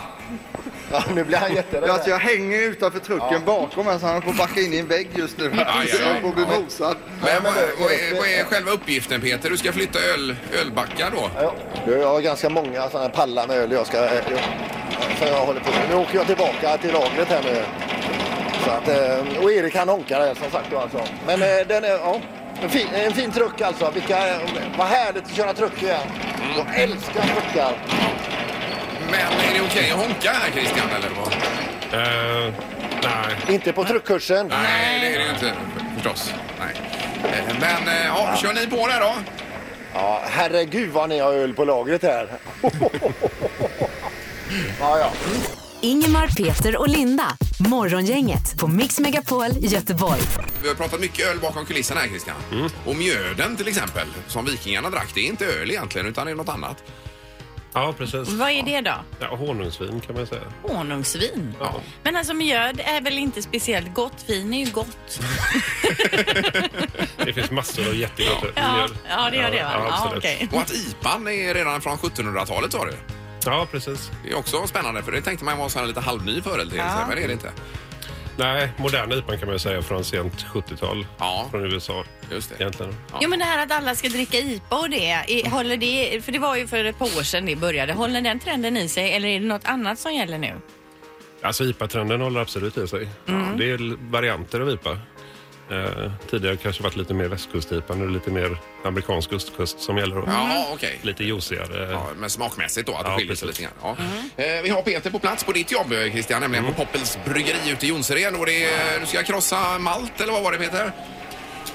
[SPEAKER 2] Ja, nu blir han jätterädd.
[SPEAKER 13] Alltså, jag hänger ju utanför trucken
[SPEAKER 2] Ja.
[SPEAKER 13] bakom här så han får backa in i en vägg just nu.
[SPEAKER 1] Ja, ja, ja.
[SPEAKER 13] Så får bli
[SPEAKER 1] Ja.
[SPEAKER 13] mosad.
[SPEAKER 1] Men vad, vad, är, vad är själva uppgiften Peter? Du ska flytta öl, ölbackar då?
[SPEAKER 2] Du, jag har ganska många sådana här pallar med öl jag ska... Jag, som jag håller på med. Nu åker jag tillbaka till lagret här nu. Så att, eh, och Erik han honkar här som sagt då alltså. Men eh, den är, ja. En fin, en fin truck alltså. Vilka, vad härligt att köra truck igen. Jag älskar truckar.
[SPEAKER 1] Men är det okej att honka här Christian eller vad?
[SPEAKER 12] Eh, nej.
[SPEAKER 2] Inte på truckkursen.
[SPEAKER 1] Nej, det är det ju inte förstås. Nej. Eh, Men eh, ja, kör ni på det då?
[SPEAKER 2] Ja, herregud vad ni har öl på lagret här. ja, ja.
[SPEAKER 4] Ingemar, Peter och Linda. Morgongänget på Mix Megapol Göteborg.
[SPEAKER 1] Vi har pratat mycket öl bakom kulisserna här Christian.
[SPEAKER 12] Mm.
[SPEAKER 1] Och mjöden till exempel, som vikingarna drack, det är inte öl egentligen utan det är något annat.
[SPEAKER 12] Ja, precis.
[SPEAKER 3] Vad är det då?
[SPEAKER 12] Ja, honungsvin kan man säga.
[SPEAKER 3] Honungsvin?
[SPEAKER 12] Ja.
[SPEAKER 3] Men alltså mjöd är väl inte speciellt gott? Vin är ju gott.
[SPEAKER 12] Det finns massor av jättegott
[SPEAKER 3] Ja, ja, det gör det, va? Ja, okej.
[SPEAKER 1] Och att IPAn är redan från 1700-talet sa du?
[SPEAKER 12] Ja, precis.
[SPEAKER 1] Det är också spännande för det tänkte man var så här lite halvny företeelse,
[SPEAKER 12] Ja.
[SPEAKER 1] men det är det inte.
[SPEAKER 12] Nej, moderna IPAn kan man ju säga från sent 70-tal. Från USA.
[SPEAKER 1] Just det.
[SPEAKER 12] Egentligen.
[SPEAKER 3] Jo men det här att alla ska dricka IPA och det, är- håller det, för det var ju för ett par år sedan det började. Håller den trenden i sig eller är det något annat som gäller nu?
[SPEAKER 12] Alltså IPA-trenden håller absolut i sig.
[SPEAKER 3] Mm.
[SPEAKER 12] Det är l- varianter av IPA. Eh, tidigare kanske varit lite mer västkust-IPA, nu lite mer amerikansk ostkust som gäller. då.
[SPEAKER 1] Ja, okej.
[SPEAKER 12] Lite juicigare.
[SPEAKER 1] men smakmässigt då, att det
[SPEAKER 12] Ja,
[SPEAKER 1] skiljer sig
[SPEAKER 12] precis.
[SPEAKER 1] lite grann. Ja. Eh, Vi har Peter på plats på ditt jobb eh, Christian, nämligen
[SPEAKER 12] Mm.
[SPEAKER 1] på Poppels bryggeri ute i Jonsered. Och det är, du ska krossa malt eller vad var det Peter?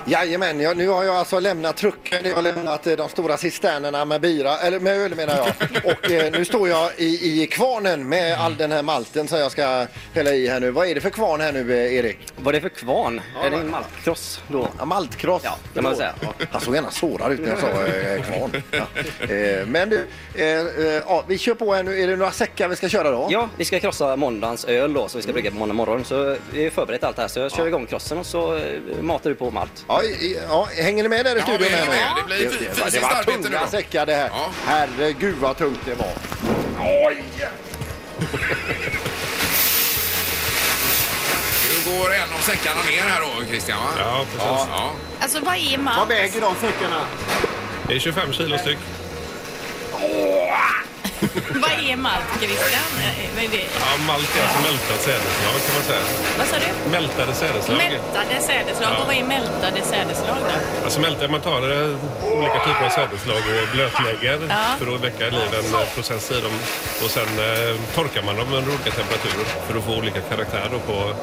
[SPEAKER 2] Jajamän, jag, nu har jag alltså lämnat trucken, jag har lämnat eh, de stora cisternerna med bira, eller med öl menar jag. Och eh, nu står jag i, i kvarnen med all den här malten som jag ska hälla i här nu. Vad är det för kvarn här nu eh, Erik?
[SPEAKER 14] Vad är det för kvarn? är det en maltkross då?
[SPEAKER 2] Ja, maltkross. Ja,
[SPEAKER 14] kan man säga. Ja.
[SPEAKER 2] Han såg gärna sårad ut när jag sa eh, kvarn. Ja. Eh, men du, eh, eh, ja, vi kör på här nu. Är det några säckar vi ska köra då?
[SPEAKER 14] Ja, vi ska krossa måndagens öl då som vi ska brygga på måndag morgon. Så vi har förberett allt det här så jag kör igång krossen och så eh, matar du på malt.
[SPEAKER 2] Ja, i- i- ja, hänger ni med där i studion? här nu? det, det, det var tunga säckar det här. Herregud vad tungt det var.
[SPEAKER 1] Oj! Nu går en av säckarna ner här då Christian va?
[SPEAKER 12] Ja, precis.
[SPEAKER 1] Ja.
[SPEAKER 3] Alltså vad är malt?
[SPEAKER 2] Vad väger de säckarna?
[SPEAKER 12] Det är 25 kilo styck.
[SPEAKER 3] vad är malt Christian? Eh, Vad, är det?
[SPEAKER 12] Ja, malt är alltså mältat sädesslag kan man säga.
[SPEAKER 3] vad sa du?
[SPEAKER 12] Mältade sädesslag.
[SPEAKER 3] Mältade sädeslag.
[SPEAKER 12] Ja.
[SPEAKER 3] Och vad är mältade sädeslag då?
[SPEAKER 12] Alltså mältar, man tar eh, olika typer av sädesslag och blötlägger
[SPEAKER 3] Ja.
[SPEAKER 12] för att väcka liv en eh, process i dem. Och sen eh, torkar man dem under olika temperaturer för att få olika karaktär då på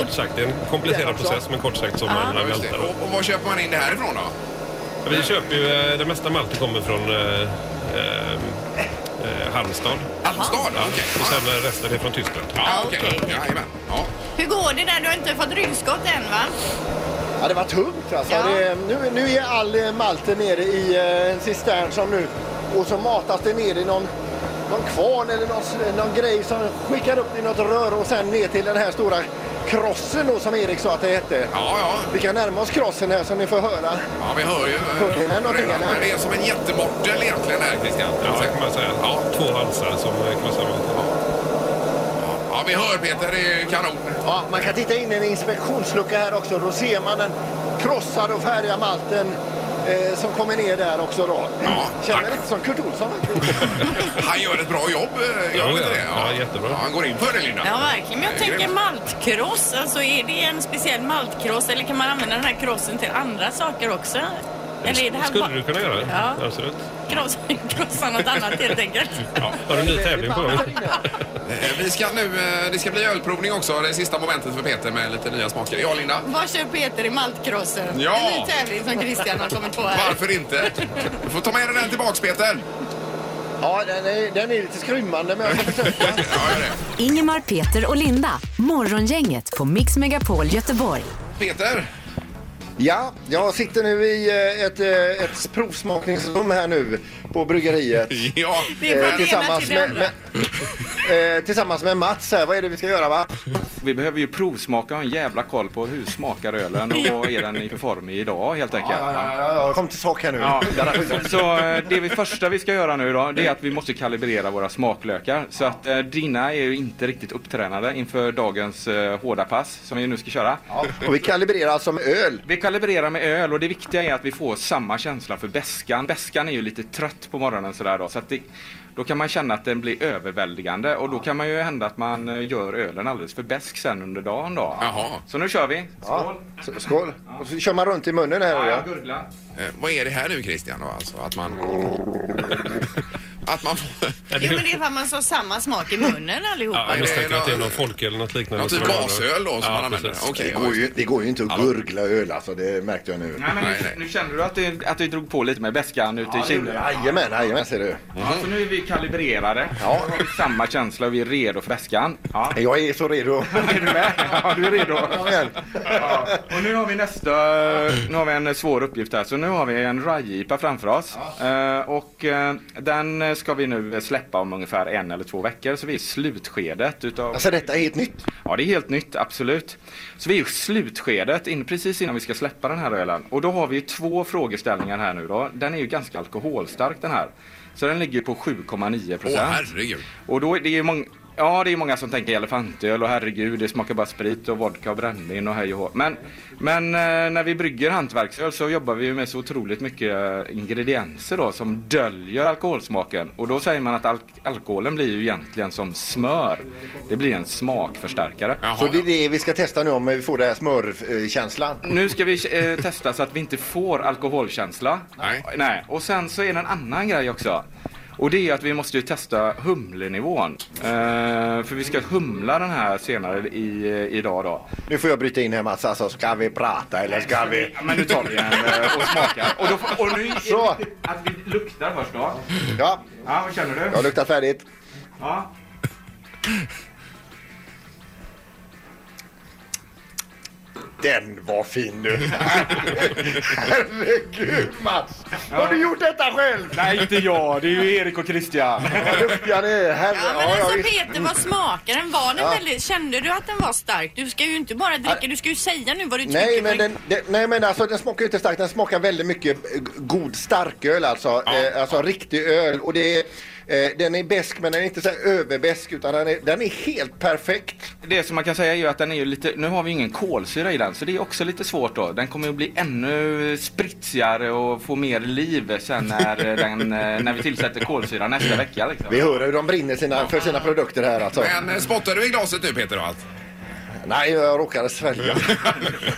[SPEAKER 12] Kort sagt, det är en komplicerad process men kort sagt som man
[SPEAKER 1] Ja, just det.
[SPEAKER 12] vältar.
[SPEAKER 1] Och, och var köper man in det här ifrån då?
[SPEAKER 12] Vi köper ju, eh, det mesta malten kommer från eh, eh, eh, Halmstad.
[SPEAKER 1] Halmstad?
[SPEAKER 12] Ja. Och sen eh, resten är från Tyskland.
[SPEAKER 1] Ja, okej. Jajamän. Ja.
[SPEAKER 3] Hur går det där? Du har inte fått ryggskott än va?
[SPEAKER 2] Ja, det var tungt alltså. Det, nu, nu är all eh, malten nere i eh, en cistern som nu och så matas det ner i någon, någon kvarn eller någon, s- någon grej som skickar upp i något rör och sen ner till den här stora krossen då som Erik sa att det hette. Vi kan närma oss krossen här som ni får höra.
[SPEAKER 1] Ja, vi hör ju.
[SPEAKER 2] Hörde ni någonting eller?
[SPEAKER 1] Men det är som en jättemortel egentligen här Christian.
[SPEAKER 12] Ja, kan man säga. Ja, två halsar som eh, krossar malten.
[SPEAKER 1] Ja, vi hör Peter. Det är kanon.
[SPEAKER 2] Ja, man kan titta in i en inspektionslucka här också. Då ser man den krossade och färdiga malten eh, som kommer ner där också då. Känner lite som Kurt Olsson faktiskt.
[SPEAKER 1] Han gör ett bra jobb. eh, Gör han inte det? Ja, jättebra. han går in för det Linda.
[SPEAKER 3] Ja, verkligen. Men jag tänker maltkross. Alltså, är det en speciell maltkross eller kan man använda den här krossen till andra saker också? Eller är det här
[SPEAKER 12] Skulle
[SPEAKER 3] bara-
[SPEAKER 12] du kunna göra?
[SPEAKER 3] Ja.
[SPEAKER 12] Absolut.
[SPEAKER 3] Krossa, krossa något annat helt enkelt.
[SPEAKER 12] Ja, har du en ny tävling på gång?
[SPEAKER 1] Eh, Vi ska nu, eh, det ska bli ölprovning också, det sista momentet för Peter med lite nya smaker. Ja, Linda?
[SPEAKER 3] Vad kör Peter i maltkrossen?
[SPEAKER 1] Ja.
[SPEAKER 3] En ny tävling som Christian har kommit på här.
[SPEAKER 1] Varför inte? Du får ta med dig den tillbaks, Peter.
[SPEAKER 2] Ja, den är, den är lite skrymmande men jag ska försöka.
[SPEAKER 4] Ingemar, Peter och Linda. Morgongänget på Mix Megapol Göteborg.
[SPEAKER 1] Peter?
[SPEAKER 2] Ja, jag sitter nu i eh, ett, eh, ett provsmakningsrum här nu på bryggeriet.
[SPEAKER 1] Ja.
[SPEAKER 2] Eh, tillsammans med, med, eh, tillsammans med Mats här. Vad är det vi ska göra va?
[SPEAKER 15] Vi behöver ju provsmaka och ha en jävla koll på hur smakar ölen och vad är den i för form i idag helt enkelt.
[SPEAKER 2] Ja, ja, ja, ja, kom till sak här nu.
[SPEAKER 15] Ja, så, så eh, det vi första vi ska göra nu då, det är att vi måste kalibrera våra smaklökar. Så att eh, dina är ju inte riktigt upptränade inför dagens eh, hårda pass som vi nu ska köra.
[SPEAKER 2] och vi kalibrerar alltså med öl?
[SPEAKER 15] Vi kalibrerar med öl och det viktiga är att vi får samma känsla för bäskan. Bäskan är ju lite trött på morgonen sådär då. Så att det, då kan man känna att den blir överväldigande och då kan man ju hända att man eh, gör ölen alldeles för bäsk sen under dagen då. Så nu kör vi. Skål!
[SPEAKER 2] Så- Skål. Och så kör man runt i munnen här.
[SPEAKER 15] Ja,
[SPEAKER 2] eller?
[SPEAKER 15] jag gurglar.
[SPEAKER 1] Eh, vad är det här nu Christian då alltså? Att man... att man får...
[SPEAKER 3] Jo, men det är för att man har samma smak i munnen allihopa.
[SPEAKER 12] Ja, jag misstänker att det är någon folk eller något liknande.
[SPEAKER 1] Någon typ
[SPEAKER 12] som man har.
[SPEAKER 1] gasöl då som
[SPEAKER 12] Ja,
[SPEAKER 1] man använder.
[SPEAKER 12] precis.
[SPEAKER 1] Okej,
[SPEAKER 16] Det går, ju, det går ju inte att gurgla öl alltså, det märkte jag nu.
[SPEAKER 15] Nej, men nu, nu kände du att du, att du drog på lite med bäskan ute
[SPEAKER 16] Ja,
[SPEAKER 15] i
[SPEAKER 16] det gjorde
[SPEAKER 15] kinden?
[SPEAKER 16] jag. Jajamän,
[SPEAKER 2] jajamän ser du.
[SPEAKER 15] Ja, så nu är vi kalibrerade. Ja. Vi har samma känsla och vi är redo för väskan. Ja.
[SPEAKER 2] Jag är så redo.
[SPEAKER 15] är du med? Ja, du är redo. Ja. Och nu har vi nästa, nu har vi en svår uppgift här. Så nu har vi en rye framför oss. Eh, och eh, den ska vi nu släppa om ungefär en eller två veckor. Så vi är i slutskedet utav...
[SPEAKER 2] Alltså detta är helt nytt?
[SPEAKER 15] Ja, det är helt nytt, absolut. Så vi är i slutskedet, in, precis innan vi ska släppa den här ölen. Och då har vi ju två frågeställningar här nu då. Den är ju ganska alkoholstark den här. Så den ligger på 7,9
[SPEAKER 1] Åh
[SPEAKER 15] procent.
[SPEAKER 1] herregud.
[SPEAKER 15] Och då är det ju många Ja, det är många som tänker elefantöl och herregud, det smakar bara sprit och vodka och brännvin och hej och hå. Men, men eh, när vi brygger hantverksöl så jobbar vi ju med så otroligt mycket eh, ingredienser då som döljer alkoholsmaken. Och då säger man att alk- alkoholen blir ju egentligen som smör. Det blir en smakförstärkare.
[SPEAKER 2] Så det är det vi ska testa nu om vi får den här smörkänslan.
[SPEAKER 15] Nu ska vi eh, testa så att vi inte får alkoholkänsla. Nej. Nej. Och sen så är det en annan grej också. Och det är att vi måste ju testa humlenivån. Eh, för vi ska humla den här senare i, eh, idag då.
[SPEAKER 2] Nu får jag bryta in här Mats, alltså ska vi prata eller ska vi?
[SPEAKER 15] Ja, men nu tar vi en eh, och smakar. Och, då, får- och nu är det
[SPEAKER 2] Så.
[SPEAKER 15] viktigt att vi luktar först då.
[SPEAKER 2] Ja,
[SPEAKER 15] Ja, vad känner du?
[SPEAKER 2] jag har luktat färdigt.
[SPEAKER 15] Ja.
[SPEAKER 2] Den var fin du! Herregud Mats! Har du gjort detta själv?
[SPEAKER 15] Nej, inte jag. Det är ju Erik och Christian.
[SPEAKER 2] Vad duktiga ni är! Herre,
[SPEAKER 3] Ja, men alltså Peter, vad smakar den? Var den
[SPEAKER 2] Ja.
[SPEAKER 3] väldigt, kände du att den var stark? Du ska ju inte bara dricka, du ska ju säga nu vad du tycker.
[SPEAKER 2] Nej men,
[SPEAKER 3] för-
[SPEAKER 2] den, den, nej men alltså den smakar ju inte starkt, den smakar väldigt mycket eh, g- god starköl alltså. Eh, alltså riktig öl och det är, eh, den är besk men den är inte så här överbäsk utan den är, den är helt perfekt.
[SPEAKER 15] Det som man kan säga är ju att den är ju lite, nu har vi ingen kolsyra i den så det är också lite svårt då. Den kommer ju bli ännu spritsigare och få mer liv sen när, eh, den, eh, när vi tillsätter kolsyra nästa vecka liksom.
[SPEAKER 2] Vi hör hur de brinner sina, för sina produkter här alltså.
[SPEAKER 1] Men eh, spottar du i glaset nu Peter och allt?
[SPEAKER 2] Nej, jag råkade svälja.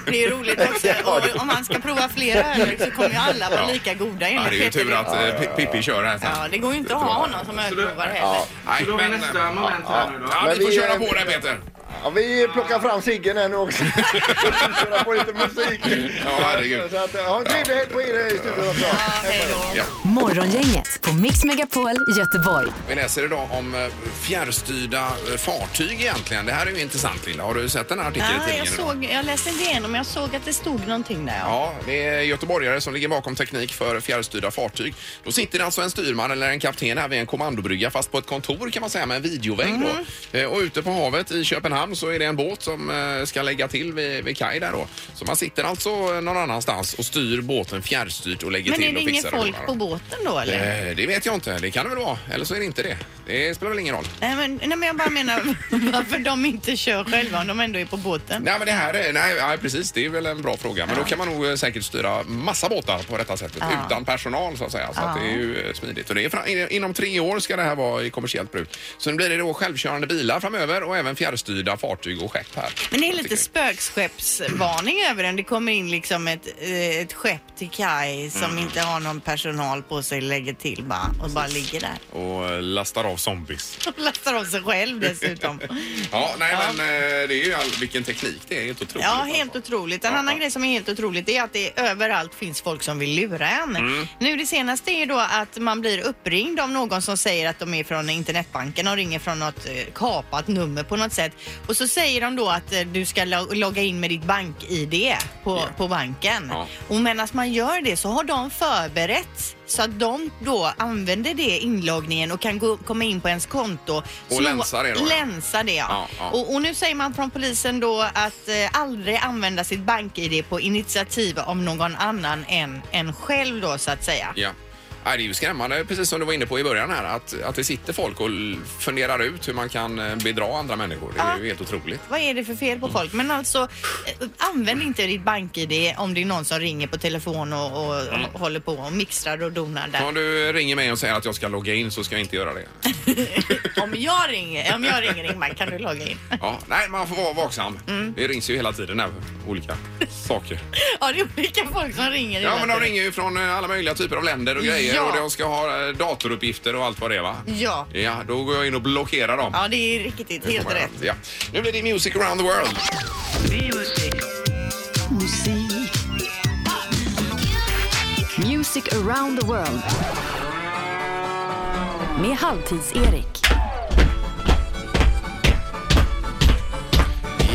[SPEAKER 3] Det är ju roligt också. Och om man ska prova flera öl så kommer ju alla vara
[SPEAKER 1] Ja.
[SPEAKER 3] lika goda
[SPEAKER 1] Ja,
[SPEAKER 3] enligt
[SPEAKER 1] det är ju tur att eh, Pi- Pippi kör här sen.
[SPEAKER 3] Ja, det går ju inte att ha honom som ölprovare heller.
[SPEAKER 1] Nej, men, nästa moment här nu då. Ja,
[SPEAKER 2] Men
[SPEAKER 1] vi får
[SPEAKER 2] vi,
[SPEAKER 1] köra
[SPEAKER 2] eh,
[SPEAKER 1] på där Peter.
[SPEAKER 2] Ja, vi plockar fram ciggen här nu också. Köra på lite musik.
[SPEAKER 1] Ja, herregud.
[SPEAKER 2] Så att, eh, ha en trevlig helg på er i studion också.
[SPEAKER 4] Morgongänget på Mix Megapol Göteborg.
[SPEAKER 1] Vi läser idag om eh, fjärrstyrda eh, fartyg egentligen. Det här är ju intressant Linda. Har du sett den här artikeln i
[SPEAKER 3] Ja,
[SPEAKER 1] tidningen?
[SPEAKER 3] jag,
[SPEAKER 1] idag?
[SPEAKER 3] såg, jag läste inte igenom, men jag såg att det stod någonting där. Ja.
[SPEAKER 1] Ja, det är göteborgare som ligger bakom teknik för fjärrstyrda fartyg. Då sitter det alltså en styrman eller en kapten här vid en kommandobrygga fast på ett kontor kan man säga med en videovägg
[SPEAKER 3] Mhm.
[SPEAKER 1] då. Eh, Och ute på havet i Köpenhamn så är det en båt som eh, ska lägga till vid, vid kaj där då. Så man sitter alltså eh, någon annanstans och styr båten fjärrstyrt och lägger
[SPEAKER 3] Men är
[SPEAKER 1] till
[SPEAKER 3] det
[SPEAKER 1] och
[SPEAKER 3] inget
[SPEAKER 1] fixar
[SPEAKER 3] folk på båten då eller?
[SPEAKER 1] Eh, Det vet jag inte. Det kan det väl vara. Eller så är det inte det. Det spelar väl ingen roll.
[SPEAKER 3] Nej men, nej men jag bara menar varför de inte kör själva om de ändå är på båten.
[SPEAKER 1] Nej, men det här är, nej, nej, precis. Det är väl en bra fråga. Men då kan man nog eh, säkert styra massa båtar på detta sättet
[SPEAKER 3] Ja.
[SPEAKER 1] utan personal så att säga. Så att
[SPEAKER 3] Ja.
[SPEAKER 1] det är ju eh, smidigt. Och det är fra, in- inom tre år ska det här vara i kommersiellt bruk. Sen blir det då självkörande bilar framöver och även fjärrstyrda fartyg och skepp här.
[SPEAKER 3] Men det är lite spökskeppsvarning över den. Det kommer in liksom ett, eh, ett skepp till kaj som
[SPEAKER 1] Mm.
[SPEAKER 3] inte har någon personal på sig, lägger till bara och bara ligger där.
[SPEAKER 1] Och eh, lastar av zombies.
[SPEAKER 3] Och lastar av sig själv dessutom.
[SPEAKER 1] Ja, nej men eh, det är ju all, vilken teknik. Det är helt otroligt. alltså.
[SPEAKER 3] Ja, helt otroligt. En annan grej som är helt otroligt är att det överallt finns folk som vill lura en.
[SPEAKER 1] Mm.
[SPEAKER 3] Nu det senaste är då att man blir uppringd av någon som säger att de är från internetbanken och ringer från något eh, kapat nummer på något sätt. Och så säger de då att eh, du ska lo- logga in med ditt bank-ID på, på banken. Och medan man gör det så har de förberett så att de då använder det inloggningen och kan gå, komma in på ens konto.
[SPEAKER 1] Och
[SPEAKER 3] Slå-
[SPEAKER 1] länsa det då, ja.
[SPEAKER 3] Länsa det ja.
[SPEAKER 1] Ja, ja.
[SPEAKER 3] Och, och nu säger man från polisen då att eh, aldrig använda sitt bank-ID på initiativ av någon annan än en själv då så att säga.
[SPEAKER 1] Ja. Nej, det är ju skrämmande, precis som du var inne på i början här, att, att det sitter folk och l- funderar ut hur man kan eh, bedra andra människor. Det är ju helt otroligt.
[SPEAKER 3] Vad är det för fel på folk? Men alltså, eh, använd inte ditt bank-ID om det är någon som ringer på telefon och, och
[SPEAKER 1] Mm.
[SPEAKER 3] håller på och mixtrar och donar där.
[SPEAKER 1] Om du ringer mig och säger att jag ska logga in så ska jag inte göra det.
[SPEAKER 3] Om jag ringer, om jag ringer Ingmar, kan du logga in?
[SPEAKER 1] Ja, nej, man får vara vaksam.
[SPEAKER 3] Mm.
[SPEAKER 1] Det rings ju hela tiden här, olika saker.
[SPEAKER 3] Ja, det är olika folk som ringer.
[SPEAKER 1] Ja,
[SPEAKER 3] hela
[SPEAKER 1] men de
[SPEAKER 3] tiden.
[SPEAKER 1] ringer ju från eh, alla möjliga typer av länder och grejer
[SPEAKER 3] Ja.
[SPEAKER 1] och de ska ha eh, datoruppgifter och allt vad det är va?
[SPEAKER 3] Ja.
[SPEAKER 1] Ja, då går jag in och blockerar dem.
[SPEAKER 3] Ja, det är riktigt
[SPEAKER 1] Det
[SPEAKER 3] helt
[SPEAKER 1] kommer jag
[SPEAKER 3] rätt.
[SPEAKER 1] att- Ja. Nu blir det Music around the world.
[SPEAKER 4] Music around the world. Med Halvtids-Erik.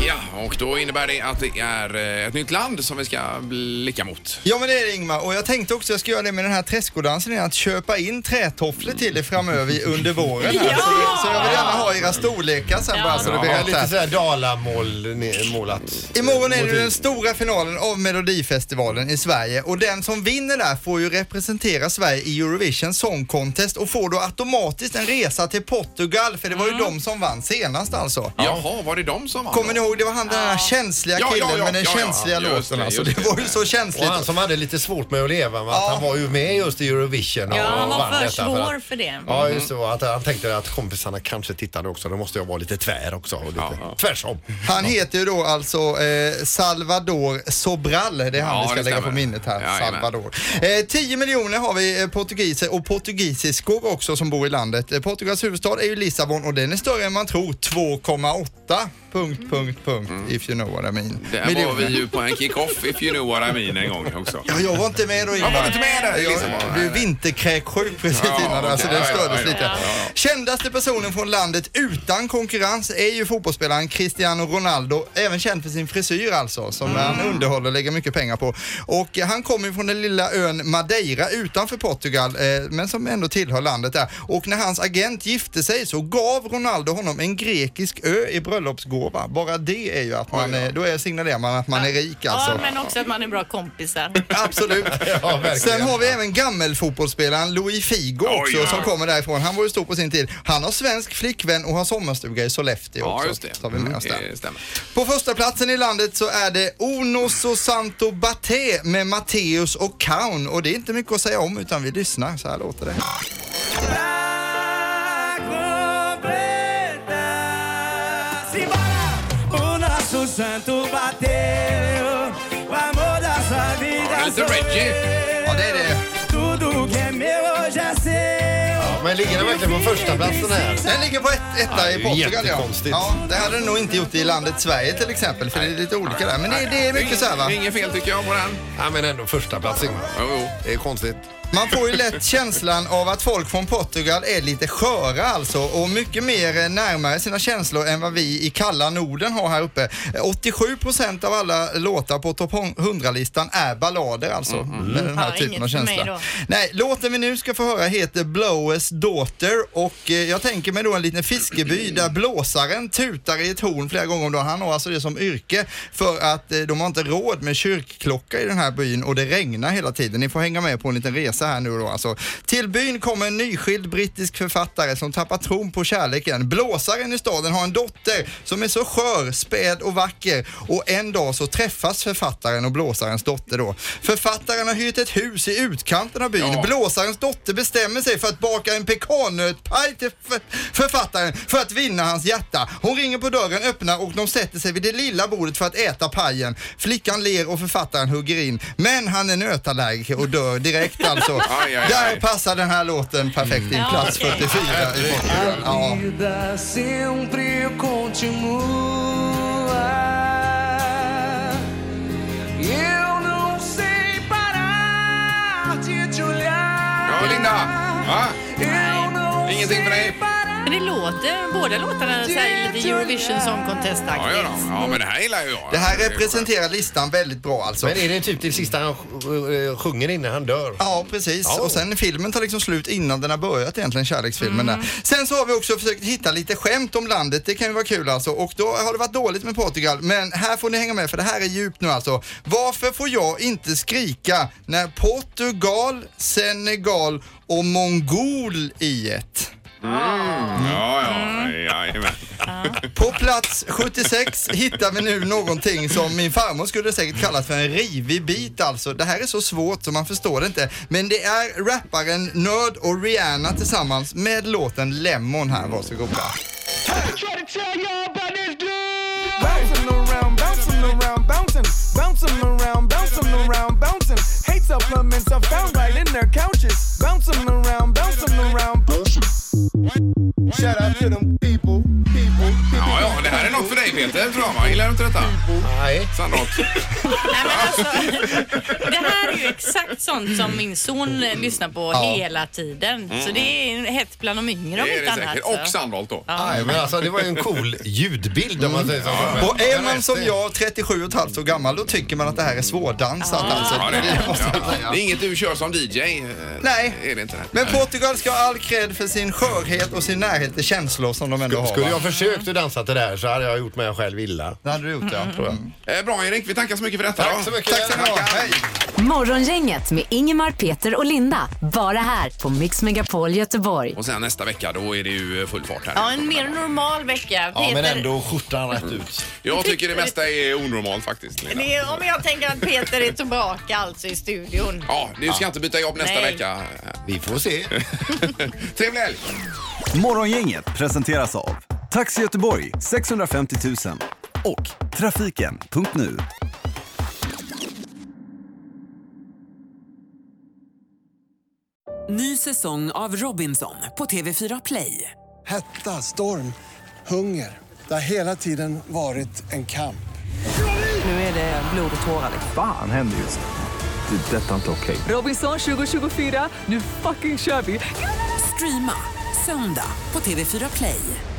[SPEAKER 1] Ja, och då innebär det att det är eh, ett nytt land som vi ska blicka mot.
[SPEAKER 7] Ja men det är det Ingmar och jag tänkte också jag ska göra det med den här träskodansen igen, att köpa in trätofflor till er framöver i- under våren. här.
[SPEAKER 17] Ja!
[SPEAKER 7] Så, så jag vill gärna ha era storlekar sen bara så det blir rätt
[SPEAKER 17] Lite
[SPEAKER 7] här.
[SPEAKER 17] sådär dalamålat.
[SPEAKER 7] Imorgon är det
[SPEAKER 17] motiv.
[SPEAKER 7] den stora finalen av Melodifestivalen i Sverige och den som vinner där får ju representera Sverige i Eurovision Song Contest och får då automatiskt en resa till Portugal för det var ju
[SPEAKER 1] Mm.
[SPEAKER 7] de som vann senast alltså.
[SPEAKER 1] Jaha, var det de som vann?
[SPEAKER 7] Kommer ni
[SPEAKER 1] då?
[SPEAKER 7] ihåg, det var han den här känsliga
[SPEAKER 1] Ja, ja,
[SPEAKER 7] killen
[SPEAKER 1] ja,
[SPEAKER 7] med den
[SPEAKER 1] ja, ja.
[SPEAKER 7] känsliga
[SPEAKER 1] Just
[SPEAKER 7] låten
[SPEAKER 1] det,
[SPEAKER 7] alltså.
[SPEAKER 1] just
[SPEAKER 7] Det var ju så
[SPEAKER 17] Och
[SPEAKER 7] känsligt.
[SPEAKER 17] han som hade lite svårt med att leva, va? att han var ju med just i Eurovision och
[SPEAKER 3] Ja, han var
[SPEAKER 17] vann
[SPEAKER 3] för
[SPEAKER 17] detta
[SPEAKER 3] svår
[SPEAKER 17] att,
[SPEAKER 3] för det.
[SPEAKER 17] Ja,
[SPEAKER 3] Mm.
[SPEAKER 17] just det. Och Att han tänkte att kompisarna kanske tittade också. Då måste jag vara lite tvär också. Och lite tvärsom.
[SPEAKER 7] Han heter ju då alltså eh, Salvador Sobral. Det är han
[SPEAKER 17] Ja,
[SPEAKER 7] vi ska
[SPEAKER 17] det
[SPEAKER 7] lägga på
[SPEAKER 17] stämmer.
[SPEAKER 7] minnet här.
[SPEAKER 17] Jajamän.
[SPEAKER 7] Salvador. Eh, 10 miljoner har vi eh, portugiser och portugisiskor också som bor i landet. Eh, Portugals huvudstad är ju Lissabon och den är större än man tror. 2,8 punkt, punkt, punkt
[SPEAKER 17] Mm.
[SPEAKER 7] if you know what I mean.
[SPEAKER 1] Där var vi ju på en kick-off if you know what I mean en gång också.
[SPEAKER 7] Ja, jag var inte med då Ingmar.
[SPEAKER 1] Jag var inte med där i Lissabon.
[SPEAKER 7] Jag blev vinterkräksjuk precis innan där, så
[SPEAKER 1] okej.
[SPEAKER 7] det
[SPEAKER 1] Ja, ja, ja,
[SPEAKER 7] stördes
[SPEAKER 1] ja,
[SPEAKER 7] lite.
[SPEAKER 1] ja, ja.
[SPEAKER 7] Kändaste personen från landet utan konkurrens är ju fotbollsspelaren Cristiano Ronaldo, även känd för sin frisyr alltså, som
[SPEAKER 1] Mm.
[SPEAKER 7] han underhåller och lägger mycket pengar på. Och eh, han kommer ju från den lilla ön Madeira utanför Portugal, eh, men som ändå tillhör landet där. Och när hans agent gifte sig så gav Ronaldo honom en grekisk ö i bröllopsgåva. Bara det är ju att man, eh, då är- signalerar man att man är rik alltså.
[SPEAKER 3] Ja, men också att man är bra kompisar.
[SPEAKER 7] Absolut.
[SPEAKER 3] verkligen.
[SPEAKER 7] Sen har vi även gammelfotbollsspelaren Louis Figo också som kommer därifrån. Han var ju stor på sin tid. Han har svensk flickvän och har sommarstuga i Sollefteå
[SPEAKER 1] Ja,
[SPEAKER 7] också.
[SPEAKER 1] just det. Mm,
[SPEAKER 7] Tar vi med oss där.
[SPEAKER 1] Det stämmer.
[SPEAKER 7] På första platsen i landet så är det Onoso Santo Baté med Matteus och Kaun. Och det är inte mycket att säga om utan vi lyssnar. Så här låter det.
[SPEAKER 18] O nosso santo bateu, o amor da sua vida sou eu. Tudo que é meu hoje é seu.
[SPEAKER 17] Men ligger den verkligen på första platsen här?
[SPEAKER 7] Den ligger på ett, etta
[SPEAKER 17] Ja, det är
[SPEAKER 7] i
[SPEAKER 17] ju
[SPEAKER 7] Portugal ja.
[SPEAKER 17] jättekonstigt.
[SPEAKER 7] ja. Det hade den nog inte gjort i landet Sverige till exempel för det är lite olika där. Men det, det är mycket så här va.
[SPEAKER 1] Inget fel tycker jag på den.
[SPEAKER 17] Ja, men ändå första plats Ingmar. Det är konstigt.
[SPEAKER 7] Man får ju lätt känslan av att folk från Portugal är lite sköra alltså och mycket mer eh, närmare sina känslor än vad vi i kalla Norden har här uppe. Eh, 87% av alla låtar på topp 100-listan är ballader alltså. Med den här
[SPEAKER 18] Ja,
[SPEAKER 7] typen av
[SPEAKER 18] inget för mig
[SPEAKER 7] känsla.
[SPEAKER 18] då.
[SPEAKER 7] Nej, låten vi nu ska få höra heter Blowers Daughter och eh, jag tänker mig då en liten fiskeby där blåsaren tutar i ett horn flera gånger om dagen. Han har alltså det som yrke för att eh, de har inte råd med kyrkklocka i den här byn och det regnar hela tiden. Ni får hänga med på en liten resa här nu då alltså. Till byn kommer en nyskild brittisk författare som tappar tron på kärleken. Blåsaren i staden har en dotter som är så skör, späd och vacker och en dag så träffas författaren och blåsarens dotter då. Författaren har hyrt ett hus i utkanten av byn. Blåsarens dotter bestämmer sig för att baka en pekannötpaj till f- författaren för att vinna hans hjärta. Hon ringer på dörren, öppnar och de sätter sig vid det lilla bordet för att äta pajen. Flickan ler och författaren hugger in. Men han är nötallergiker och dör direkt alltså.
[SPEAKER 18] Aj, aj, aj.
[SPEAKER 7] Där passar den här låten perfekt in.
[SPEAKER 18] Ja,
[SPEAKER 7] Plats
[SPEAKER 18] okej.
[SPEAKER 7] 44 i Portugal. Ja.
[SPEAKER 18] A vida sempre continua. E eu não sei parar de te olhar.
[SPEAKER 1] Ja, Linda! Va?
[SPEAKER 18] Eu não
[SPEAKER 1] Ingenting för dig?
[SPEAKER 3] Men det låter lite, båda låtarna så här, lite Eurovision Song
[SPEAKER 1] Ja,
[SPEAKER 3] Contest-aktigt.
[SPEAKER 1] ja, ja. ja, men det här gillar jag.
[SPEAKER 7] Det här representerar listan väldigt bra alltså.
[SPEAKER 17] Men är det typ det sista han sj- eh, sjunger innan han dör?
[SPEAKER 7] Ja, precis.
[SPEAKER 17] Ja.
[SPEAKER 7] Och sen filmen tar liksom slut innan den har börjat egentligen, kärleksfilmen där. Sen så har vi också försökt hitta lite skämt om landet, det kan ju vara kul alltså. Och då har det varit dåligt med Portugal, men här får ni hänga med för det här är djupt nu alltså. Varför får jag inte skrika när Portugal, Senegal och Mongol i ett?
[SPEAKER 1] Ja, ja, jajamän.
[SPEAKER 7] På plats 76 hittar vi nu någonting som min farmor skulle säkert kallat för en rivig bit alltså. Det här är så svårt så man förstår det inte. Men det är rapparen Nörd och Rihanna tillsammans med låten Lemon här, varsågoda.
[SPEAKER 18] Try to tell y'all about this dude. Bouncing around, bouncing around, bouncing, bouncing around, bouncing around, bouncing. Hate supplements I found right in their couches. Bouncing around, bouncing around, bouncing. Shout out to them people, people.
[SPEAKER 1] Ja, ja, det här är något för dig Peter, tror jag. va? Gillar du inte detta?
[SPEAKER 17] Nej.
[SPEAKER 1] Sannolikt.
[SPEAKER 3] alltså, Det här är ju exakt sånt som min son eh, lyssnar på
[SPEAKER 17] Ja.
[SPEAKER 3] hela tiden. Så
[SPEAKER 17] Mm.
[SPEAKER 3] det är hett bland de yngre om
[SPEAKER 17] Det är
[SPEAKER 3] inte
[SPEAKER 17] det
[SPEAKER 3] annat.
[SPEAKER 17] säkert.
[SPEAKER 3] så.
[SPEAKER 17] Och
[SPEAKER 1] Sandholt då.
[SPEAKER 3] Ja.
[SPEAKER 17] Nej, men alltså det var ju en cool ljudbild om man säger så.
[SPEAKER 7] Och är man som jag, 37 och ett halvt år gammal, då tycker man att det här är svårdansat alltså.
[SPEAKER 1] Ja, det, är det.
[SPEAKER 7] måste jag
[SPEAKER 1] Ja.
[SPEAKER 7] säga.
[SPEAKER 1] det är inget du kör som DJ. eh,
[SPEAKER 7] Nej.
[SPEAKER 1] Är det inte det?
[SPEAKER 7] Men Portugal ska ha all cred för sin skörhet och sin närhet till känslor som de ändå har.
[SPEAKER 17] Skulle
[SPEAKER 7] va?
[SPEAKER 17] jag försökt att dansa till det här så hade jag gjort mig själv illa.
[SPEAKER 7] Det hade du gjort, ja.
[SPEAKER 17] Tror jag.
[SPEAKER 1] Eh, Bra Erik, vi tackar så mycket för detta.
[SPEAKER 17] Tack så mycket. Tack
[SPEAKER 1] ska ni ha.
[SPEAKER 4] Morgongänget med Ingemar, Peter och Linda. Bara här på Mix Megapol Göteborg.
[SPEAKER 1] Och sen nästa vecka, då är det ju full fart här.
[SPEAKER 3] Ja, en mer normal vecka. Peter,
[SPEAKER 17] skjortan rätt ut.
[SPEAKER 1] Jag tycker det mesta är onormalt faktiskt. Linda.
[SPEAKER 3] det är, om jag tänker att Peter är tillbaka alltså i studion.
[SPEAKER 1] Ja, du ska inte byta jobb nästa
[SPEAKER 3] Nej.
[SPEAKER 1] vecka.
[SPEAKER 17] Vi får se.
[SPEAKER 1] Trevlig helg!
[SPEAKER 19] Morgongänget presenteras av Taxi Göteborg 650 000 och Trafiken.nu.
[SPEAKER 20] Ny säsong av Robinson på TV4 Play.
[SPEAKER 21] Hetta, storm, hunger. Det har hela tiden varit en kamp.
[SPEAKER 20] Nu är det blod och tårar.
[SPEAKER 22] Fan händer just nu. Det. är Detta är inte okej.
[SPEAKER 20] Robinson 2024, nu fucking kör vi! Streama söndag på TV4 Play.